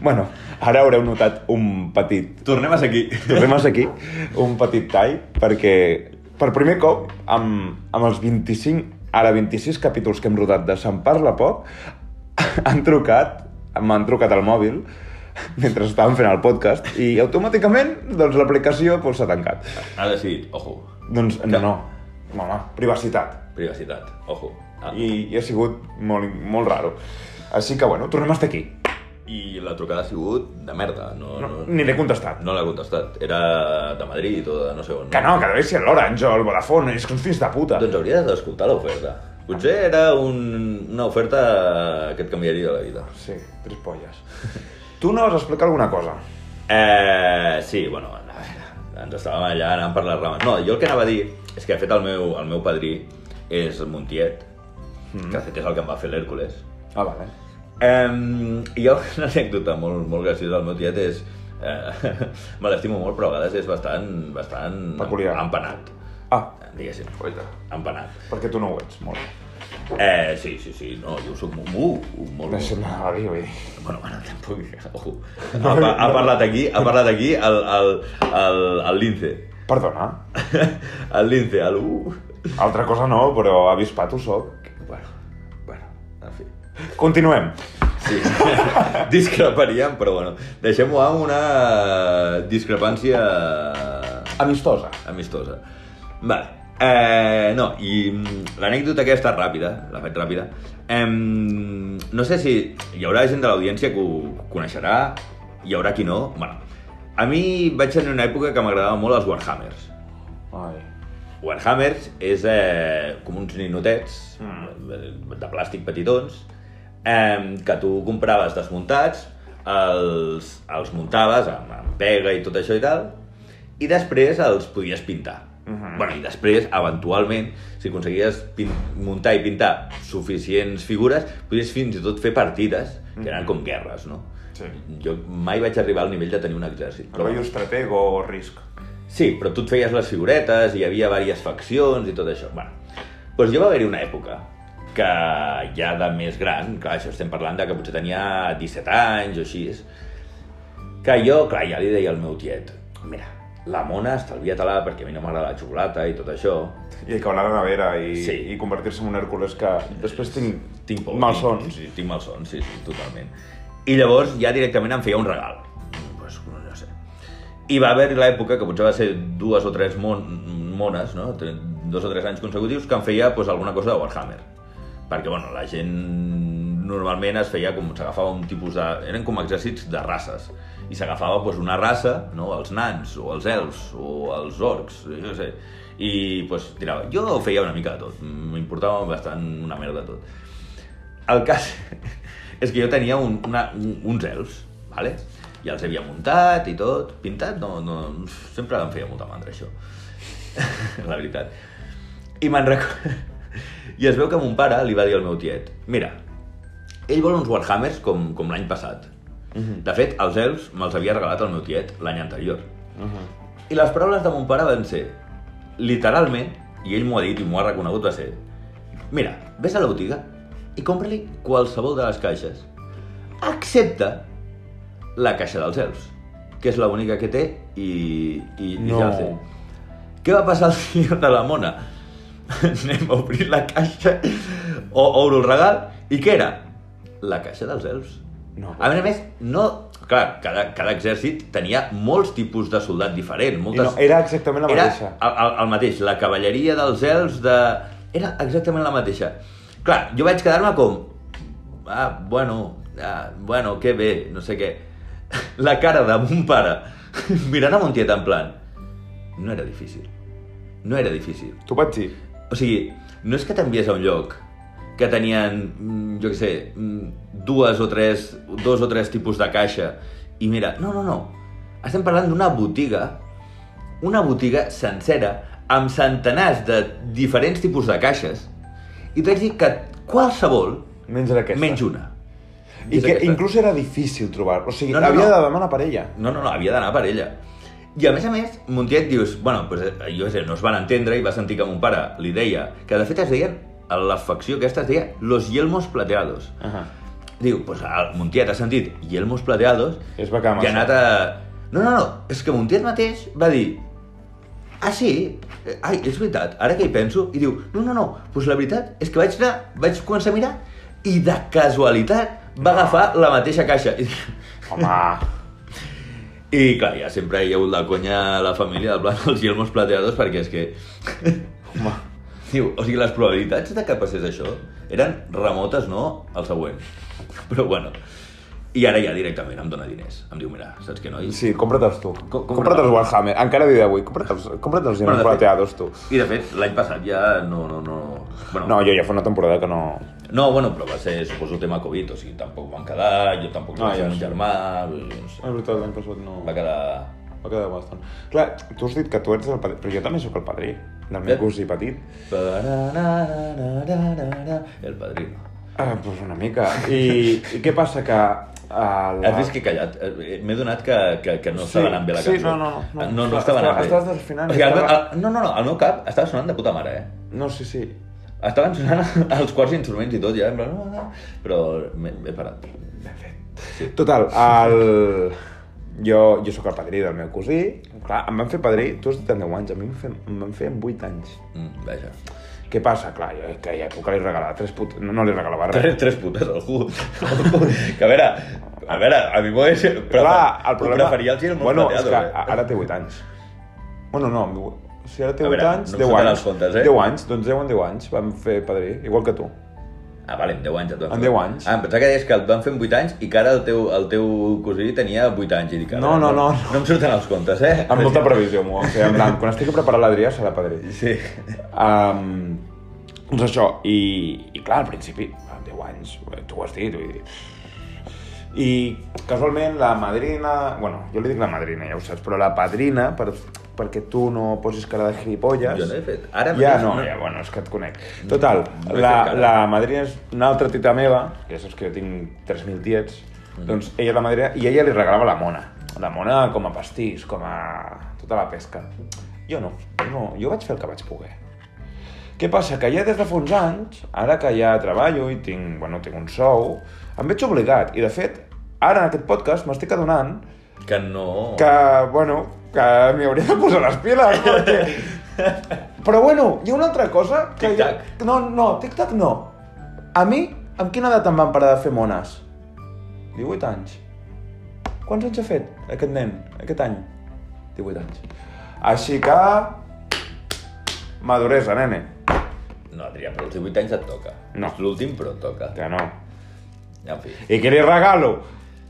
[SPEAKER 2] Bueno, ara haureu notat un petit...
[SPEAKER 1] Tornem a ser aquí.
[SPEAKER 2] Tornem aquí un petit tall, perquè per primer cop, amb, amb els 25, ara 26 capítols que hem rodat de Se'n parla poc, han trucat, m'han trucat al mòbil, mentre estàvem fent el podcast, i automàticament doncs, l'aplicació doncs, s'ha tancat.
[SPEAKER 1] Ha decidit, ojo,
[SPEAKER 2] Doncs no, no. Home, privacitat.
[SPEAKER 1] privacitat, ojo. Ah, I,
[SPEAKER 2] I, i ha sigut molt, molt raro. Així que, bueno, tornem a estar aquí.
[SPEAKER 1] I la trucada ha sigut de merda, no, no,
[SPEAKER 2] No, ni l'he contestat.
[SPEAKER 1] no l'ha contestat. Era de Madrid o de no sé on.
[SPEAKER 2] Que no, que deu ser l'Orange o el Vodafone, és que uns fills de puta.
[SPEAKER 1] Doncs hauries d'escoltar l'oferta. Potser era un, una oferta que et canviaria la vida.
[SPEAKER 2] Sí, tres polles. tu no vas explicar alguna cosa.
[SPEAKER 1] Eh, sí, bueno, a veure, ens estàvem allà anant per les rames. No, jo el que anava a dir és que, de fet, el meu, el meu padrí és Montiet, que de fet és el que em va fer l'Hèrcules.
[SPEAKER 2] Ah, vale.
[SPEAKER 1] Um, hi ha una anècdota molt, molt graciosa del meu tiet, és... Eh, me l'estimo molt, però a vegades és bastant, bastant
[SPEAKER 2] Peculiar.
[SPEAKER 1] empanat,
[SPEAKER 2] Ah,
[SPEAKER 1] diguéssim,
[SPEAKER 2] oita.
[SPEAKER 1] empanat.
[SPEAKER 2] Perquè tu no ho ets, molt.
[SPEAKER 1] Eh, sí, sí, sí, no, jo soc molt... Uh, molt
[SPEAKER 2] No sé, no, a dir, vull dir.
[SPEAKER 1] Bueno, bueno, tampoc... Ojo. Ha, pa- ha parlat aquí, ha parlat aquí el, el, el, el lince.
[SPEAKER 2] Perdona.
[SPEAKER 1] El lince, el... Uh.
[SPEAKER 2] Altra cosa no, però avispat ho soc.
[SPEAKER 1] Bueno, bueno, en fi.
[SPEAKER 2] Continuem.
[SPEAKER 1] Sí, discreparíem, però bueno, deixem-ho amb una discrepància
[SPEAKER 2] Amistosa.
[SPEAKER 1] amistosa. Vale. Eh, no, i mm, l'anècdota aquesta ràpida, la faig ràpida. Eh, no sé si hi haurà gent de l'audiència que ho coneixerà, hi haurà qui no. Bueno, a mi vaig tenir una època que m'agradava molt els Warhammers.
[SPEAKER 2] Ai.
[SPEAKER 1] Warhammers és eh, com uns ninotets
[SPEAKER 2] Mm.
[SPEAKER 1] eh, de plàstic petitons eh, que tu compraves desmuntats, els, els muntaves amb, amb pega i tot això i tal, i després els podies pintar.
[SPEAKER 2] Mhm.
[SPEAKER 1] bueno, I després, eventualment, si aconseguies pin muntar i pintar suficients figures, podies fins i tot fer partides, que eren com guerres, no?
[SPEAKER 2] Sí.
[SPEAKER 1] Jo mai vaig arribar al nivell de tenir un exèrcit. però
[SPEAKER 2] Rollo estratego o risc.
[SPEAKER 1] Sí, però tu et feies les figuretes, hi havia diverses faccions i tot això. Bueno, doncs jo va haver-hi una època que ja de més gran, clar, això estem parlant de que potser tenia 17 anys o així, que jo, clar, ja li deia al meu tiet, mira, la mona estalvia-te-la perquè a mi no m'agrada la xocolata i tot això,
[SPEAKER 2] I que anar a la nevera i,
[SPEAKER 1] Sí.
[SPEAKER 2] i convertir-se en un Hèrcules que després tinc,
[SPEAKER 1] tinc por.
[SPEAKER 2] malsons.
[SPEAKER 1] Tinc, sí, tinc malsons, sí, sí, totalment. I llavors ja directament em feia un regal. Mm, Pues, no, no sé. I va haver l'època, que potser va ser dues o tres mon, mones, no? Tre- dos o tres anys consecutius, que em feia pues, alguna cosa de Warhammer. Perquè, bueno, la gent normalment es feia com s'agafava un tipus de... Eren com exèrcits de races. I s'agafava pues, una raça, no? els nans, o els elfs, o els orcs, jo què sé. I pues, tirava. Jo feia una mica de tot. M'importava bastant una merda de tot. El cas és que jo tenia un, una, un- uns elfs, vale? ja els havia muntat i tot, pintat, no, no, sempre em feia molta mandra això, la veritat. I me'n recordo... I es veu que mon pare li va dir al meu tiet, mira, ell vol uns Warhammers com, com l'any passat. De fet, els elfs me'ls havia regalat el meu tiet l'any anterior.
[SPEAKER 2] Uh -huh.
[SPEAKER 1] I les paraules de mon pare van ser, literalment, i ell m'ho ha dit i m'ho ha reconegut, va ser Mira, ves a la botiga i compra-li qualsevol de les caixes, excepte la caixa dels elfs, que és l'única que té i, i, i ja
[SPEAKER 2] No.
[SPEAKER 1] el té. Què va passar al senyor de la mona? Anem a obrir la caixa, o obro el regal, i què era? La caixa dels elfs.
[SPEAKER 2] No.
[SPEAKER 1] A més a més, no... Clar, cada, cada exèrcit tenia molts tipus de soldat diferent.
[SPEAKER 2] I
[SPEAKER 1] Moltes...
[SPEAKER 2] no, era exactament la
[SPEAKER 1] era
[SPEAKER 2] mateixa.
[SPEAKER 1] el, el, el mateix, la cavalleria dels elfs de... Era exactament la mateixa. Clar, jo vaig quedar-me com... Ah, bueno, ah, bueno, que bé, no sé què. La cara de mon pare mirant a mon tiet en plan... No era difícil. No era difícil.
[SPEAKER 2] T'ho vaig dir.
[SPEAKER 1] O sigui, no és que t'envies a un lloc que tenien, mm, jo què sé, mm, dues o tres, dos o tres tipus de caixa i mira, no, no, no. Estem parlant d'una botiga, una botiga sencera, amb centenars de diferents tipus de caixes i t'haig dit que qualsevol
[SPEAKER 2] Menys era aquesta.
[SPEAKER 1] menys una.
[SPEAKER 2] I
[SPEAKER 1] És
[SPEAKER 2] que
[SPEAKER 1] aquesta.
[SPEAKER 2] inclús era difícil trobar. O sigui,
[SPEAKER 1] No,
[SPEAKER 2] no,
[SPEAKER 1] no,
[SPEAKER 2] havia
[SPEAKER 1] no.
[SPEAKER 2] de demanar per ella.
[SPEAKER 1] No, no, no, havia d'anar per ella. I a més a més, Montiet dius, bueno, pues, eh, jo què sé, no es van entendre i va sentir que mon pare li deia, que de fet es deien, a la facció aquesta es deia Los Yelmos Plateados.
[SPEAKER 2] Uh -huh.
[SPEAKER 1] Diu, pues el Montiet ha sentit Yelmos Plateados
[SPEAKER 2] Es va quedar
[SPEAKER 1] i ha
[SPEAKER 2] Ah, massa.
[SPEAKER 1] anat a... No, no, no, és que Montiet mateix va dir, ah sí, Eh, ai, és veritat, ara que hi penso, i diu, no, no, no, pues la veritat és que vaig anar, vaig començar a mirar i de casualitat va agafar la mateixa caixa. I dic,
[SPEAKER 2] Home,
[SPEAKER 1] i clar, ja sempre hi ha hagut la conya a la família del plan els Guilmos Plateados perquè és que...
[SPEAKER 2] home.
[SPEAKER 1] Diu, o sigui, les probabilitats de que passés això eren remotes, no? El següent. Però bueno, i ara ja directament em dona diners. Em diu, mira, saps què, noi?
[SPEAKER 2] Sí, compra't-els tu.
[SPEAKER 1] Com- com-
[SPEAKER 2] Compra't-els Warhammer. Encara a dia d'avui. Compra't-els compra't els
[SPEAKER 1] Bueno, de
[SPEAKER 2] bueno,
[SPEAKER 1] fet-
[SPEAKER 2] plateados, tu.
[SPEAKER 1] I de fet, l'any passat ja no, no, no... Bueno,
[SPEAKER 2] No, jo ja fa una temporada que no...
[SPEAKER 1] no, bueno, però va ser, suposo, tema Covid, o sigui, tampoc van quedar, jo tampoc no,
[SPEAKER 2] Ah,
[SPEAKER 1] vaig
[SPEAKER 2] ja,
[SPEAKER 1] ser un
[SPEAKER 2] sí.
[SPEAKER 1] germà, vull dir, no sé,
[SPEAKER 2] Ah, És veritat, l'any passat no...
[SPEAKER 1] va quedar...
[SPEAKER 2] Va quedar bastant. Clar, tu has dit que tu ets el padrí, però jo també sóc el padrí del meu
[SPEAKER 1] Eh?
[SPEAKER 2] cosí petit.
[SPEAKER 1] El padrino.
[SPEAKER 2] Ah, doncs una mica. I, i què passa que... A la...
[SPEAKER 1] Has vist que he callat? Eh, M'he donat que, que, que no
[SPEAKER 2] Sí,
[SPEAKER 1] estava anant bé la
[SPEAKER 2] sí,
[SPEAKER 1] cançó.
[SPEAKER 2] no, no, no.
[SPEAKER 1] Ah, no, no
[SPEAKER 2] Estava-
[SPEAKER 1] estava anant bé.
[SPEAKER 2] estava- estaves desfinant
[SPEAKER 1] O sigui, el meu-
[SPEAKER 2] estava-
[SPEAKER 1] el- no, no, no, el meu cap estava sonant de puta mare, eh?
[SPEAKER 2] No, sí, sí.
[SPEAKER 1] Estaven sonant els quarts instruments i tot, ja, en plan... "Ah, ah", Però m'he m'he parat.
[SPEAKER 2] Total, el... Jo, jo sóc el padrí del meu cosí. Clar, em van fer padrí, tu has dit en 10 anys, a mi em, fer, em van fer en 8 anys.
[SPEAKER 1] Mm, vaja.
[SPEAKER 2] Què passa? Clar, jo que ja època li regalava tres put... No, no li regalava res.
[SPEAKER 1] Tres, tres putes, algú. algú. Que a veure, a veure, a mi m'ho és...
[SPEAKER 2] Però clar, el problema...
[SPEAKER 1] Preferia el gil molt
[SPEAKER 2] bueno, és
[SPEAKER 1] plateado,
[SPEAKER 2] que
[SPEAKER 1] eh?
[SPEAKER 2] ara té 8 anys. Bueno, no, amb diu- si ara té
[SPEAKER 1] A
[SPEAKER 2] 8
[SPEAKER 1] veure,
[SPEAKER 2] anys,
[SPEAKER 1] no em
[SPEAKER 2] 10
[SPEAKER 1] surten
[SPEAKER 2] anys.
[SPEAKER 1] els comptes, eh?
[SPEAKER 2] 10 anys, doncs 10 en 10 anys vam fer padrí, igual que tu.
[SPEAKER 1] Ah, vale, en 10 anys et van
[SPEAKER 2] En
[SPEAKER 1] fer.
[SPEAKER 2] 10 anys.
[SPEAKER 1] Ah, em pensava que deies que et van fer en 8 anys i que ara el teu, el teu cosí tenia 8 anys. I dic, a
[SPEAKER 2] No,
[SPEAKER 1] veure,
[SPEAKER 2] no, no, no.
[SPEAKER 1] No em surten els comptes, eh?
[SPEAKER 2] Amb molta previsió, m'ho vam fer. En plan, quan estigui preparat l'Adrià serà padrí.
[SPEAKER 1] Sí.
[SPEAKER 2] Um, doncs això, i, i clar, al principi, amb 10 anys, tu ho has dit, vull dir... I casualment la madrina... Bueno, jo li dic la madrina, ja ho saps, però la padrina, per, perquè tu no posis cara de gilipolles...
[SPEAKER 1] Jo no he fet. Ara
[SPEAKER 2] ja
[SPEAKER 1] mateix
[SPEAKER 2] no,
[SPEAKER 1] no.
[SPEAKER 2] ja, bueno, és que et conec. Total,
[SPEAKER 1] No he
[SPEAKER 2] la,
[SPEAKER 1] fet cara.
[SPEAKER 2] la madrina és una altra tita meva, que ja saps que jo tinc 3.000 tiets,
[SPEAKER 1] Mm.
[SPEAKER 2] doncs ella la madrina, i ella li regalava la mona. La mona com a pastís, com a... tota la pesca. Jo no, no, jo vaig fer el que vaig poder. Què passa? Que ja des de fa uns anys, ara que ja treballo i tinc, bueno, tinc un sou, em veig obligat. I, de fet, ara en aquest podcast m'estic adonant
[SPEAKER 1] Que no...
[SPEAKER 2] que, bueno, que m'hi hauria de posar les piles, perquè... Però, bueno, hi ha una altra cosa que... ja-
[SPEAKER 1] Tic-tac.
[SPEAKER 2] No, no, tic-tac no. A mi, amb quina edat em van parar de fer mones? 18 anys. Quants anys ha fet aquest nen, aquest any? 18 anys. Així que... Maduresa, nene.
[SPEAKER 1] No, Adrià, però als 18 anys et toca.
[SPEAKER 2] No.
[SPEAKER 1] És l'últim, però et toca.
[SPEAKER 2] Que no.
[SPEAKER 1] En fi.
[SPEAKER 2] ¿Y qué le regalo?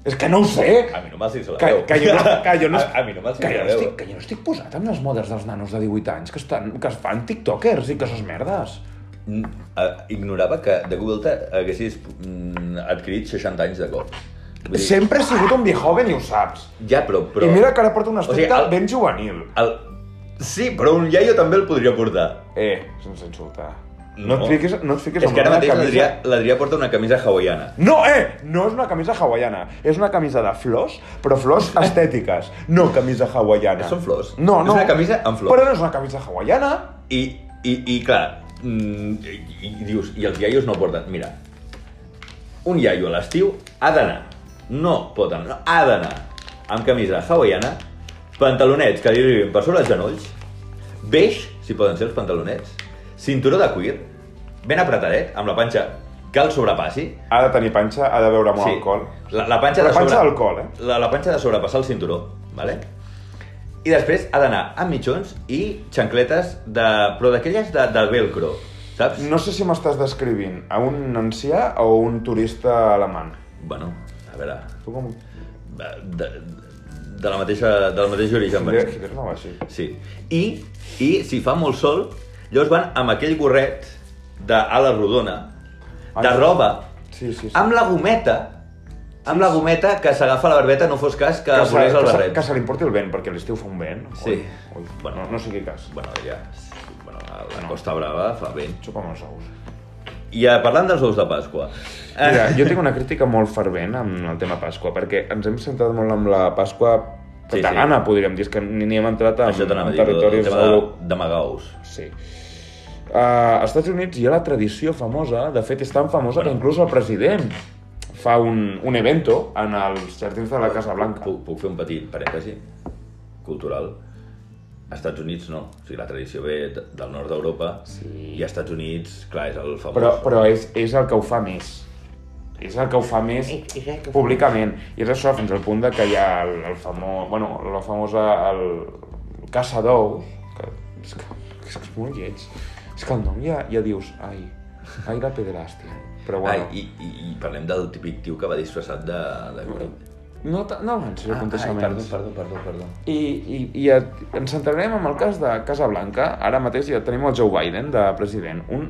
[SPEAKER 2] Es que no ho sé.
[SPEAKER 1] A mi no m'has la
[SPEAKER 2] Que,
[SPEAKER 1] veu.
[SPEAKER 2] que, jo, no, que jo no,
[SPEAKER 1] a, a mi no m'has
[SPEAKER 2] que jo
[SPEAKER 1] la
[SPEAKER 2] no
[SPEAKER 1] veu.
[SPEAKER 2] estic, que jo no estic posat amb les modes dels nanos de 18 anys que, estan, que es fan tiktokers i que ses merdes.
[SPEAKER 1] Mm, eh, Ignorava que de Google te haguessis mm, adquirit 60 anys de cop. Vull dir,
[SPEAKER 2] Sempre he sigut un viejoven i ho saps.
[SPEAKER 1] Ja, però... però
[SPEAKER 2] Però... I mira que ara porto un
[SPEAKER 1] sigui,
[SPEAKER 2] aspecte o sigui,
[SPEAKER 1] el-
[SPEAKER 2] ben juvenil.
[SPEAKER 1] El... Sí, però un iaio també el podria portar.
[SPEAKER 2] Eh, sense insultar.
[SPEAKER 1] No.
[SPEAKER 2] No, no et fiquis, no et fiquis
[SPEAKER 1] és que ara
[SPEAKER 2] una
[SPEAKER 1] mateix l'Adrià l'Adrià porta una camisa hawaiana.
[SPEAKER 2] No, eh! No és una camisa hawaiana. És una camisa de flors, però flors estètiques. No camisa hawaiana.
[SPEAKER 1] Són flors.
[SPEAKER 2] No,
[SPEAKER 1] És
[SPEAKER 2] no.
[SPEAKER 1] una camisa amb flors.
[SPEAKER 2] Però no és una camisa hawaiana.
[SPEAKER 1] I, i, i clar, mm, i, i, i dius, i els iaios no porten... Mira, un iaio a l'estiu ha d'anar, no pot anar, no, ha d'anar amb camisa hawaiana, pantalonets que li arribin per sobre els genolls, beix, si poden ser els pantalonets, cinturó de cuir, ben apretadet, amb la panxa que el sobrepassi,
[SPEAKER 2] Ha de tenir panxa, ha de beure molt alcohol.
[SPEAKER 1] La, la panxa
[SPEAKER 2] La
[SPEAKER 1] de
[SPEAKER 2] panxa d'alcohol, eh?
[SPEAKER 1] La, la panxa de sobrepassar el cinturó, vale? I després ha d'anar amb mitjons i xancletes de... però d'aquelles de, de velcro, saps?
[SPEAKER 2] No sé si m'estàs descrivint a un ancià o un turista alemany.
[SPEAKER 1] Bueno, a veure...
[SPEAKER 2] Tu com...
[SPEAKER 1] De, de la mateixa, del mateix origen.
[SPEAKER 2] Hitler,
[SPEAKER 1] vens.
[SPEAKER 2] Hitler no va així.
[SPEAKER 1] Sí. I, I si fa molt sol, llavors van amb aquell gorret d'ala rodona, de
[SPEAKER 2] Ai.
[SPEAKER 1] roba,
[SPEAKER 2] Sí, sí, sí.
[SPEAKER 1] amb la gometa, amb la gometa que s'agafa a la barbeta, no fos cas que,
[SPEAKER 2] se-
[SPEAKER 1] volés el
[SPEAKER 2] que, se,
[SPEAKER 1] barret.
[SPEAKER 2] que se li importi el vent, perquè a l'estiu fa un vent.
[SPEAKER 1] Sí.
[SPEAKER 2] Ui, ui.
[SPEAKER 1] Bueno.
[SPEAKER 2] Bueno, no, no sigui cas.
[SPEAKER 1] Bueno, ja... Bueno, a la Costa Brava fa vent.
[SPEAKER 2] Xupa'm els ous.
[SPEAKER 1] I eh, parlant dels ous de Pasqua... Eh,
[SPEAKER 2] Mira, jo tinc una crítica molt fervent amb el tema Pasqua, perquè ens hem centrat molt amb la Pasqua
[SPEAKER 1] Sí, sí.
[SPEAKER 2] catalana, sí, sí. podríem dir, és que ni, ni hem entrat en,
[SPEAKER 1] això t'anava a
[SPEAKER 2] en
[SPEAKER 1] dir, el, el
[SPEAKER 2] territoris...
[SPEAKER 1] tema de,
[SPEAKER 2] euro-
[SPEAKER 1] d'amagar ous.
[SPEAKER 2] Sí. Uh, als Estats Units hi ha la tradició famosa, de fet és tan famosa que inclús el president fa un, un evento en els jardins de la Casa Blanca.
[SPEAKER 1] Puc, puc fer un petit parèntesi cultural? Als Estats Units no, o sigui, la tradició ve de- del nord d'Europa
[SPEAKER 2] Sí.
[SPEAKER 1] i als Estats Units, clar, és el famós...
[SPEAKER 2] Però, però és, és el que ho fa més. És el que ho fa més públicament. I és això fins al punt de que hi ha el, el famós... Bueno, la famosa... El, el caça d'ous. Que, és que, és que és molt lleig. És que el nom ja, ja dius... Ai, ai la pedrastia. Però
[SPEAKER 1] Ai,
[SPEAKER 2] bueno...
[SPEAKER 1] i, i, I parlem del típic tio que va disfressat de... de... Ah,
[SPEAKER 2] No, ta- no avanci el conteixement.
[SPEAKER 1] perdó, perdó, perdó, perdó.
[SPEAKER 2] I, i, i et- ens centrarem en el cas de Casablanca. Ara mateix ja tenim el Joe Biden de president, un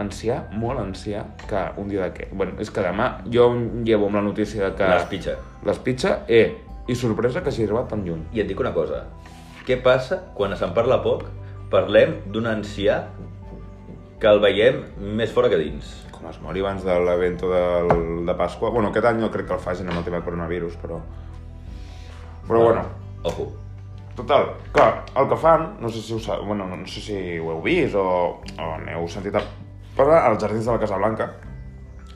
[SPEAKER 2] ancià, molt ancià, que un dia de què? Bueno, és que demà jo em llevo amb la notícia de que...
[SPEAKER 1] Les pitja.
[SPEAKER 2] L'espitxa, eh, i sorpresa que s'hi arribat tan lluny.
[SPEAKER 1] I et dic una cosa, què passa quan se'n parla poc parlem d'un ancià que el veiem més fora que dins?
[SPEAKER 2] Com es mori abans de l'evento de, de Pasqua. Bueno, aquest any no crec que el facin amb el tema coronavirus, però... Però bueno,
[SPEAKER 1] Ojo.
[SPEAKER 2] Total, que el que fan, no sé si ho, sa- bueno, no sé si ho heu vist o, o n'heu sentit a parlar, als jardins de la Casa Blanca,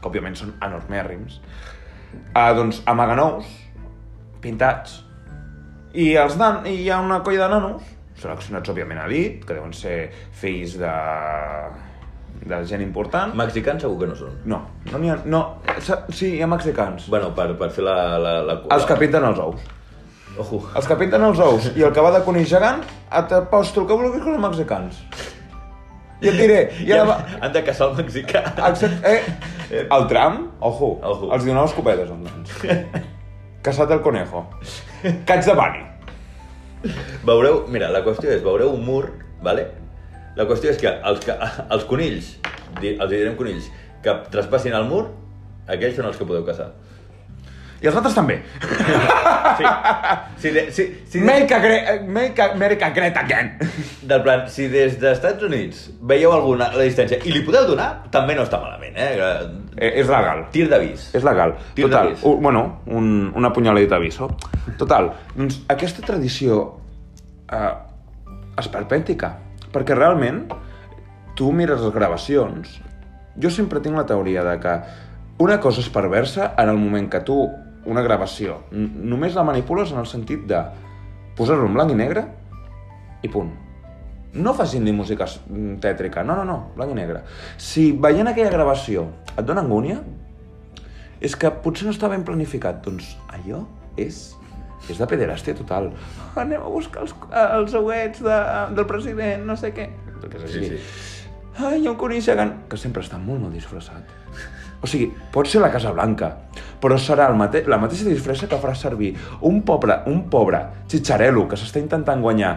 [SPEAKER 2] que òbviament són enormèrrims, ah, doncs amaguen ous pintats i, els nan, i hi ha una colla de nanos, seleccionats òbviament a dit, que deuen ser fills de, de gent important.
[SPEAKER 1] Mexicans segur que no són.
[SPEAKER 2] No, no n'hi ha... No, sa- sí, hi ha mexicans.
[SPEAKER 1] Bueno, per, per fer la... la, la
[SPEAKER 2] Els que pinten els ous.
[SPEAKER 1] Ojo.
[SPEAKER 2] Els que pinten els ous i el que va de conill gegant, t'aposto el que vulguis que són mexicans. I et diré, i ara va...
[SPEAKER 1] Han de caçar el mexicà.
[SPEAKER 2] Except, eh, el tram, ojo,
[SPEAKER 1] Ojo.
[SPEAKER 2] els donava escopetes als nens. Casat el conejo. Caig de bani.
[SPEAKER 1] Veureu, mira, la qüestió és, veureu un mur, vale? La qüestió és que els, que, els conills, di- els direm conills, que traspassin el mur, aquells són els que podeu caçar.
[SPEAKER 2] I els altres també.
[SPEAKER 1] Sí. Si, de, si, si, de,
[SPEAKER 2] Make, a gre eh, make a- America great again.
[SPEAKER 1] del plan, si des dels Estats Units veieu alguna a la distància i li podeu donar, també no està malament, eh? Que-
[SPEAKER 2] Eh, és legal.
[SPEAKER 1] Tir d'avís.
[SPEAKER 2] És legal.
[SPEAKER 1] Tir
[SPEAKER 2] Total,
[SPEAKER 1] d'avís.
[SPEAKER 2] un, bueno, un, una punyaladita d'aviso. Total, doncs aquesta tradició eh, esperpèntica, perquè realment tu mires les gravacions, jo sempre tinc la teoria de que una cosa és perversa en el moment que tu una gravació n- només la manipules en el sentit de posar-lo en blanc i negre i punt. No facin ni música s- mm, tètrica, no, no, no, blanc i negre. Si veient aquella gravació et dona angúnia, és que potser no està ben planificat. Doncs allò és... És de pederàstia total. Anem a buscar els, els ouets de, del president, no sé què. Perquè és
[SPEAKER 1] Sí,
[SPEAKER 2] així.
[SPEAKER 1] sí.
[SPEAKER 2] Ai, un conill gegant, que sempre està molt mal disfressat. O sigui, pot ser la Casa Blanca, però serà el mate la mateixa disfressa que farà servir un pobre, un pobre xitxarelo que s'està intentant guanyar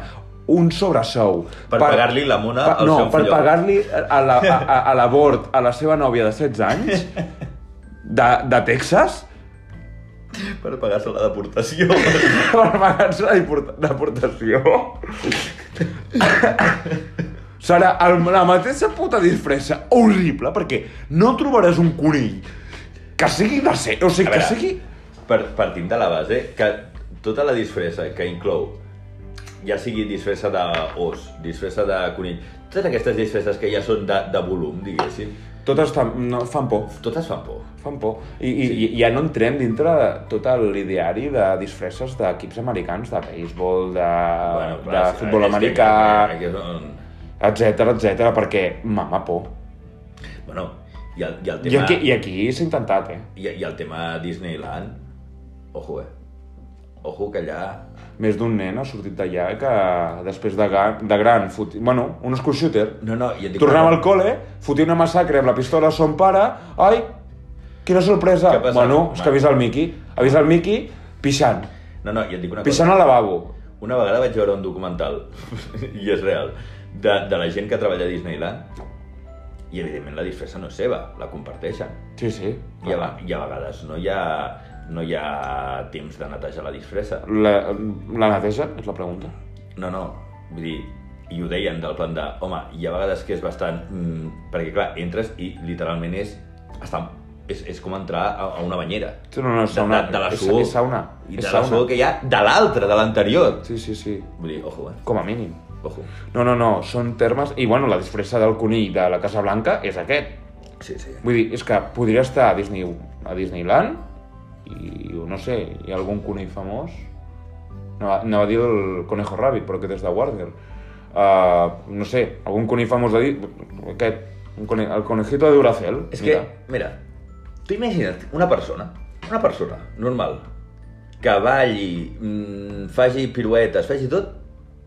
[SPEAKER 2] un sobresou
[SPEAKER 1] Per pagar-li la mona al
[SPEAKER 2] no,
[SPEAKER 1] seu
[SPEAKER 2] per
[SPEAKER 1] fillol.
[SPEAKER 2] pagar-li a la- a, a, a l'abort a la seva nòvia de 16 anys de, de Texas
[SPEAKER 1] Per pagar-se la deportació.
[SPEAKER 2] per pagar-se la deport- deportació serà el, la mateixa puta disfressa horrible perquè no trobaràs un conill que sigui de ser, o sigui,
[SPEAKER 1] A
[SPEAKER 2] que
[SPEAKER 1] veure.
[SPEAKER 2] sigui
[SPEAKER 1] Per, partim de la base que tota la disfressa que inclou, ja sigui disfressa d'os, disfressa de conill, totes aquestes disfresses que ja són de, de volum, diguéssim,
[SPEAKER 2] totes fan, no, fan por
[SPEAKER 1] totes fan por.
[SPEAKER 2] fan por. I, i, i ja no entrem dintre de tot l'ideari de disfresses d'equips americans, de béisbol, de, bueno,
[SPEAKER 1] clar,
[SPEAKER 2] Ah, de
[SPEAKER 1] sí,
[SPEAKER 2] futbol
[SPEAKER 1] és que- eh.
[SPEAKER 2] americà,
[SPEAKER 1] Aquí és on...
[SPEAKER 2] etc etc perquè mama por.
[SPEAKER 1] Bueno, I el, i el
[SPEAKER 2] I
[SPEAKER 1] tema...
[SPEAKER 2] aquí, i aquí s'ha intentat, eh?
[SPEAKER 1] I, I el tema Disneyland, ojo, eh? Ojo que allà...
[SPEAKER 2] Més d'un nen ha sortit d'allà que després de, ga- de gran fot... Bueno, un school shooter.
[SPEAKER 1] No, no, i et dic...
[SPEAKER 2] Tornava al col·le, fotia una massacre amb la pistola a son pare, ai, quina sorpresa!
[SPEAKER 1] Què ha passat?
[SPEAKER 2] Bueno, és que ha vist el Mickey, ha vist el Mickey pixant,
[SPEAKER 1] No, no, i et dic una cosa.
[SPEAKER 2] pixant al lavabo.
[SPEAKER 1] Una vegada vaig veure un documental, i és real, de, de la gent que treballa a Disneyland, i evidentment la disfressa no és seva, la comparteixen.
[SPEAKER 2] Sí, sí.
[SPEAKER 1] I a, ve- i a vegades no hi ha, no hi ha temps de netejar la disfressa.
[SPEAKER 2] La, la neteja, és la pregunta.
[SPEAKER 1] No, no, vull dir, i ho deien del plan de, home, hi ha vegades que és bastant... Mm, perquè, clar, entres i literalment és... Està, és, és com entrar a, a una banyera.
[SPEAKER 2] No, no, és
[SPEAKER 1] de,
[SPEAKER 2] sauna.
[SPEAKER 1] de, de la
[SPEAKER 2] és,
[SPEAKER 1] suor.
[SPEAKER 2] és sauna.
[SPEAKER 1] I
[SPEAKER 2] és
[SPEAKER 1] de la suor que hi ha de l'altra, de l'anterior.
[SPEAKER 2] Sí, sí, sí.
[SPEAKER 1] Vull dir, ojo, eh?
[SPEAKER 2] Com a mínim.
[SPEAKER 1] Ojo.
[SPEAKER 2] No, no, no, són termes... I bueno, la disfressa del conill de la Casa Blanca és aquest.
[SPEAKER 1] Sí, sí.
[SPEAKER 2] Vull dir, és que podria estar a, Disney, a Disneyland i, no sé, hi ha algun conill famós. No, no va dir el Conejo Rabbit, però aquest és de Warner. Uh, no sé, algun conill famós de dir... Aquest, un cone... el Conejito de Duracell.
[SPEAKER 1] És que, mira, tu imagina't una persona, una persona normal, que balli, mm, faci piruetes, faci tot,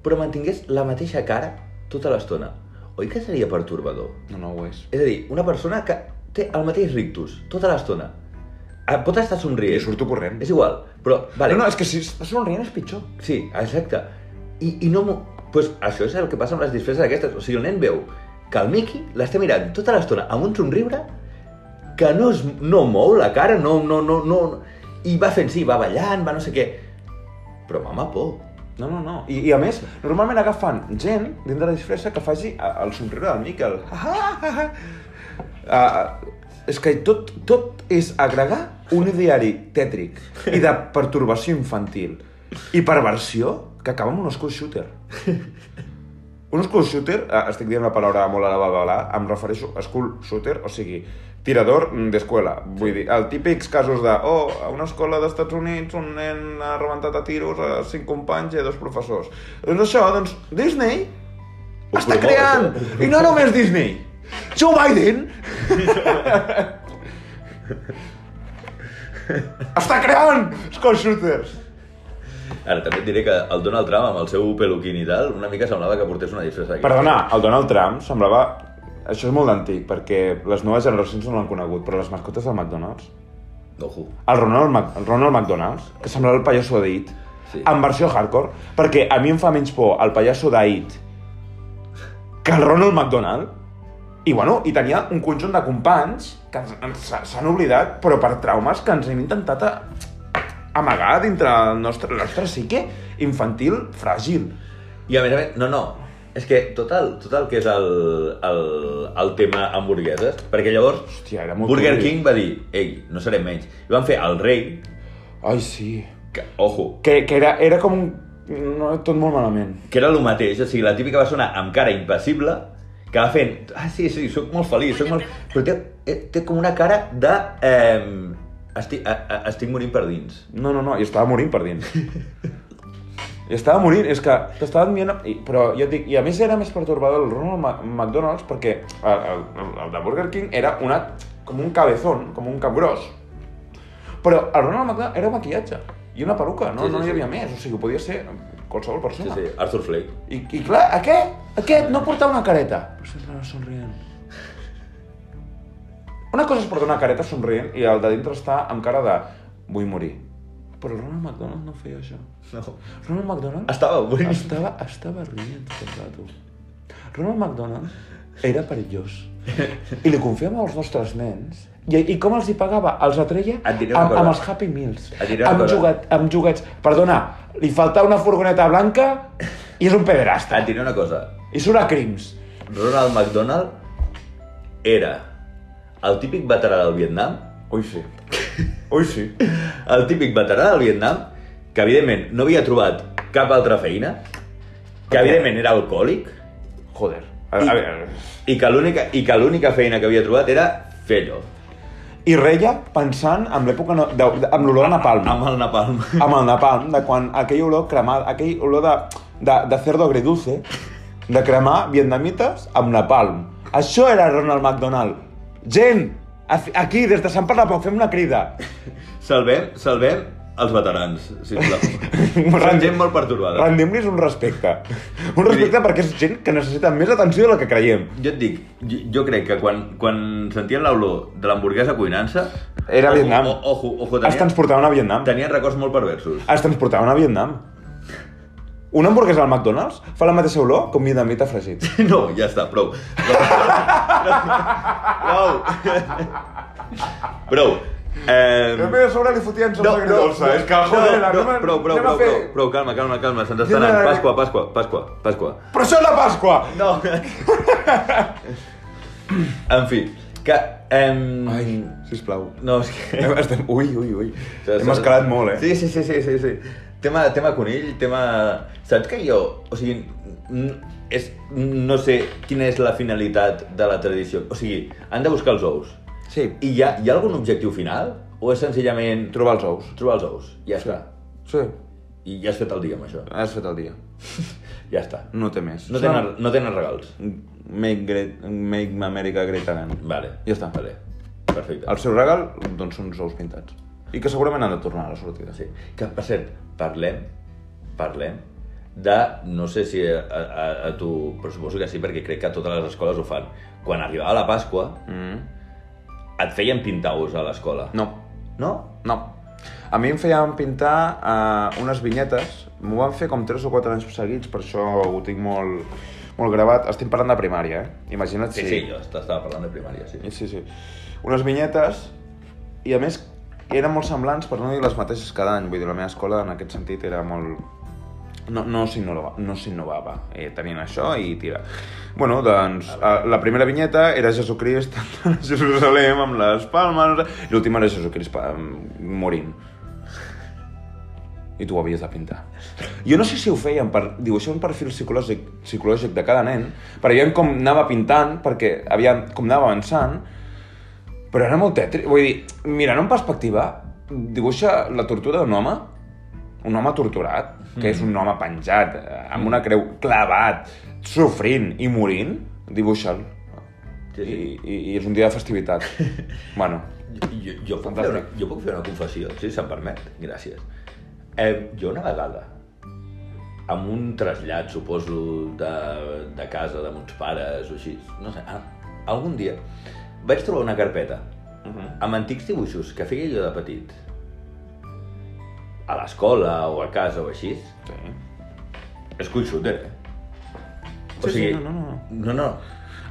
[SPEAKER 1] però mantingués la mateixa cara tota l'estona. Oi que seria pertorbador?
[SPEAKER 2] No, no ho és.
[SPEAKER 1] És a dir, una persona que té el mateix rictus tota l'estona. Ah, Pot estar
[SPEAKER 2] I
[SPEAKER 1] somrient.
[SPEAKER 2] Eh, surto corrent.
[SPEAKER 1] És igual, però... Vale.
[SPEAKER 2] No, no, és que si estàs somrient és pitjor.
[SPEAKER 1] Sí, exacte. I, i no m'ho... Pues això és el que passa amb les disfresses aquestes. O sigui, el nen veu que el Mickey l'està mirant tota l'estona amb un somriure que no, es, no mou la cara, no, no, no, no... I va fent sí, va ballant, va no sé què... Però mama por.
[SPEAKER 2] No, no, no. I, i a més, normalment agafen gent dintre de la disfressa que faci eh, el somriure del Miquel. Ah, ah, ah, ah. Uh, és que tot, tot és agregar un ideari tètric i de pertorbació infantil i perversió que acaba amb un school shooter. Un school shooter, eh, estic dient una paraula molt a la babalà, em refereixo a school shooter, o sigui, tirador mm, d'escola. Vull dir, el típics casos de, oh, a una escola d'Estats Units un nen ha rebentat a tiros a cinc companys i a dos professors. Doncs això, doncs, Disney
[SPEAKER 1] Ho
[SPEAKER 2] està
[SPEAKER 1] promou,
[SPEAKER 2] creant!
[SPEAKER 1] això.
[SPEAKER 2] I no només Disney! Joe Biden! està creant school shooters!
[SPEAKER 1] Ara, també et diré que el Donald Trump, amb el seu peluquín i tal, una mica semblava que portés una disfressa d'aquesta.
[SPEAKER 2] Perdona, el Donald Trump semblava... Això és molt antic, perquè les noves generacions no l'han conegut, però les mascotes del McDonald's...
[SPEAKER 1] Ojo.
[SPEAKER 2] El Ronald, Mac... el Ronald McDonald's, que semblava el pallasso d'It,
[SPEAKER 1] Sí.
[SPEAKER 2] sí. en versió hardcore, perquè a mi em fa menys por el pallasso d'It que el Ronald McDonald. I, bueno, i tenia un conjunt de companys que ens- ens- s'han oblidat, però per traumes que ens hem intentat a... amagar dintre el nostre, la nostra psique infantil fràgil.
[SPEAKER 1] I a més a més, no, no, és que tot el, tot el que és el, el, el tema hamburgueses, perquè llavors
[SPEAKER 2] Hòstia, era molt
[SPEAKER 1] Burger
[SPEAKER 2] cruel.
[SPEAKER 1] King va dir, ei, no serem menys. I van fer el rei,
[SPEAKER 2] Ai, sí.
[SPEAKER 1] que, ojo,
[SPEAKER 2] Que, que era, era com un... No, tot molt malament.
[SPEAKER 1] que era el mateix, o sigui, la típica persona amb cara impassible, que va fent, ah, sí, sí, sóc molt feliç, sóc molt... Però té, eh, té com una cara de... Eh, estic, a, a, estic morint per dins.
[SPEAKER 2] No, no, no, i estava morint per dins. I estava morint, és que t'estava dient... i- Però jo et dic, i a més era més pertorbador el Ronald Ma- McDonald's perquè el, el, el de Burger King era una, com un cabezón, com un cap gros. Però el Ronald McDonald era un maquillatge i una peruca, no,
[SPEAKER 1] Sí, sí,
[SPEAKER 2] no
[SPEAKER 1] sí.
[SPEAKER 2] hi havia més, o sigui, podia ser qualsevol
[SPEAKER 1] Sí,
[SPEAKER 2] persona.
[SPEAKER 1] sí, Arthur Flake.
[SPEAKER 2] I, I clar, aquest, aquest no portava una careta. Però sempre somrient. Una cosa és portar una careta somrient i el de dintre està amb cara de vull morir. Però el Ronald McDonald no feia això.
[SPEAKER 1] No.
[SPEAKER 2] Ronald McDonald
[SPEAKER 1] Estava morint.
[SPEAKER 2] estava, estava rient tot el rato. Ronald McDonald era perillós. I li confiava als nostres nens. I, I com els hi pagava? Els atreia
[SPEAKER 1] Et diré una
[SPEAKER 2] amb,
[SPEAKER 1] cosa.
[SPEAKER 2] amb els Happy Meals.
[SPEAKER 1] Et diré una
[SPEAKER 2] Amb,
[SPEAKER 1] cosa.
[SPEAKER 2] jugat, amb juguets. Perdona, li falta una furgoneta blanca i és un pederasta.
[SPEAKER 1] Ah, Et diré una cosa,
[SPEAKER 2] I surt a crims.
[SPEAKER 1] Ronald McDonald era el típic veterà del Vietnam,
[SPEAKER 2] Ui, sí. Ui, sí.
[SPEAKER 1] el típic veterà del Vietnam, que evidentment no havia trobat cap altra feina, que evidentment era alcohòlic,
[SPEAKER 2] Joder. A,
[SPEAKER 1] I-
[SPEAKER 2] a veure...
[SPEAKER 1] i que l'única i que l'única feina que havia trobat era fer allò,
[SPEAKER 2] I reia pensant en l'època... No, de, de, amb l'olor a napalm.
[SPEAKER 1] amb el napalm.
[SPEAKER 2] Amb el napalm, de quan aquell olor cremat, aquell olor de, de, de cerdo agridulce, de cremar vietnamites amb napalm. Això era Ronald McDonald. Gent, a- aquí, des de Sant Pere de Pau, fem una crida.
[SPEAKER 1] Salvem, salvem els veterans, sisplau. Són
[SPEAKER 2] Rendi-
[SPEAKER 1] gent molt pertorbada.
[SPEAKER 2] Rendim-los un respecte. Un
[SPEAKER 1] Vull
[SPEAKER 2] respecte
[SPEAKER 1] dir-
[SPEAKER 2] perquè és gent que necessita més atenció de la que creiem.
[SPEAKER 1] Jo et dic, jo, jo crec que quan, quan sentien l'olor de l'hamburguesa cuinant-se...
[SPEAKER 2] Era
[SPEAKER 1] ojo,
[SPEAKER 2] Vietnam.
[SPEAKER 1] o- Ojo, ojo,
[SPEAKER 2] Es
[SPEAKER 1] tenien,
[SPEAKER 2] transportaven a Vietnam.
[SPEAKER 1] tenien records molt perversos.
[SPEAKER 2] Es transportaven a Vietnam. Una hamburguesa al McDonald's fa la mateixa olor que un vietnamita fregit.
[SPEAKER 1] No, ja està, prou. Prou. Prou. Eh,
[SPEAKER 2] Però a sobre li fotien
[SPEAKER 1] no, no, no, no, no, prou, prou, prou, prou, prou, calma, calma, calma, se'ns està
[SPEAKER 2] Anem a-
[SPEAKER 1] anant. Pasqua, Pasqua, Pasqua, Pasqua.
[SPEAKER 2] Però això és la Pasqua!
[SPEAKER 1] No. en fi, que... Ehm...
[SPEAKER 2] Ai, sisplau.
[SPEAKER 1] No, és que...
[SPEAKER 2] Hem- Estem... Ui, ui, ui. Hem escalat molt, eh?
[SPEAKER 1] Sí, sí, sí, sí, sí, sí. Tema, tema conill, tema... Saps que jo, o sigui, n- és, no sé quina és la finalitat de la tradició. O sigui, han de buscar els ous.
[SPEAKER 2] Sí.
[SPEAKER 1] I hi ha, hi ha algun objectiu final? O és senzillament tro-
[SPEAKER 2] Trobar els ous.
[SPEAKER 1] trobar els ous? Ja està.
[SPEAKER 2] Sí.
[SPEAKER 1] I ja has fet el dia amb això.
[SPEAKER 2] Has fet el dia.
[SPEAKER 1] Ja està.
[SPEAKER 2] No té més.
[SPEAKER 1] No tenen, no tenen regals.
[SPEAKER 2] Make, great, make America Great Again.
[SPEAKER 1] Vale.
[SPEAKER 2] Ja està.
[SPEAKER 1] Vale. Perfecte.
[SPEAKER 2] El seu regal, doncs, són uns ous pintats. I que segurament han de tornar a la sortida.
[SPEAKER 1] Sí. Que, per cert, parlem, parlem de, no sé si a, a, a tu, però suposo que sí, perquè crec que totes les escoles ho fan. Quan arribava la Pasqua,
[SPEAKER 2] Mm.
[SPEAKER 1] et feien pintar ous a l'escola.
[SPEAKER 2] No.
[SPEAKER 1] No?
[SPEAKER 2] No. A mi em feien pintar eh, unes vinyetes, m'ho van fer com 3 o 4 anys seguits, per això ho tinc molt, molt gravat. Estem parlant de primària, eh? Imagina't
[SPEAKER 1] Sí,
[SPEAKER 2] si...
[SPEAKER 1] sí, sí jo estava parlant de primària, sí.
[SPEAKER 2] Sí, sí. Unes vinyetes, i a més eren molt semblants, per no dir les mateixes cada any. Vull dir, la meva escola en aquest sentit era molt... No, no s'innovava, no s'innovava eh, tenint això i tira. Bueno, doncs, eh, la primera vinyeta era Jesucrist a Jerusalem amb les palmes, i l'última era Jesucrist pa- mm, morint. I tu ho havies de pintar. Jo no sé si ho feien per... Diu, això és un perfil psicològic, psicològic de cada nen, per veiem com anava pintant, perquè aviam com anava avançant, però era molt tètric. Vull dir, mirant en perspectiva, dibuixa la tortura d'un home, un home torturat, que és un home penjat, eh, amb una creu clavat, sofrint i morint, dibuixa'l.
[SPEAKER 1] Sí,
[SPEAKER 2] I,
[SPEAKER 1] sí.
[SPEAKER 2] i, I és un dia de festivitat. bueno,
[SPEAKER 1] Jo, jo, jo, puc fer
[SPEAKER 2] Fantàstic.
[SPEAKER 1] una, jo puc fer una confessió, si se'm permet. Gràcies. Eh, jo una vegada, amb un trasllat, suposo, de, de casa de meus pares o així, no sé, a, algun dia vaig trobar una carpeta
[SPEAKER 2] Mhm.
[SPEAKER 1] amb antics dibuixos que feia jo de petit a l'escola o a casa o així,
[SPEAKER 2] sí.
[SPEAKER 1] és collxuter, eh? O
[SPEAKER 2] Sí, sí,
[SPEAKER 1] sigui,
[SPEAKER 2] no, no,
[SPEAKER 1] no, no.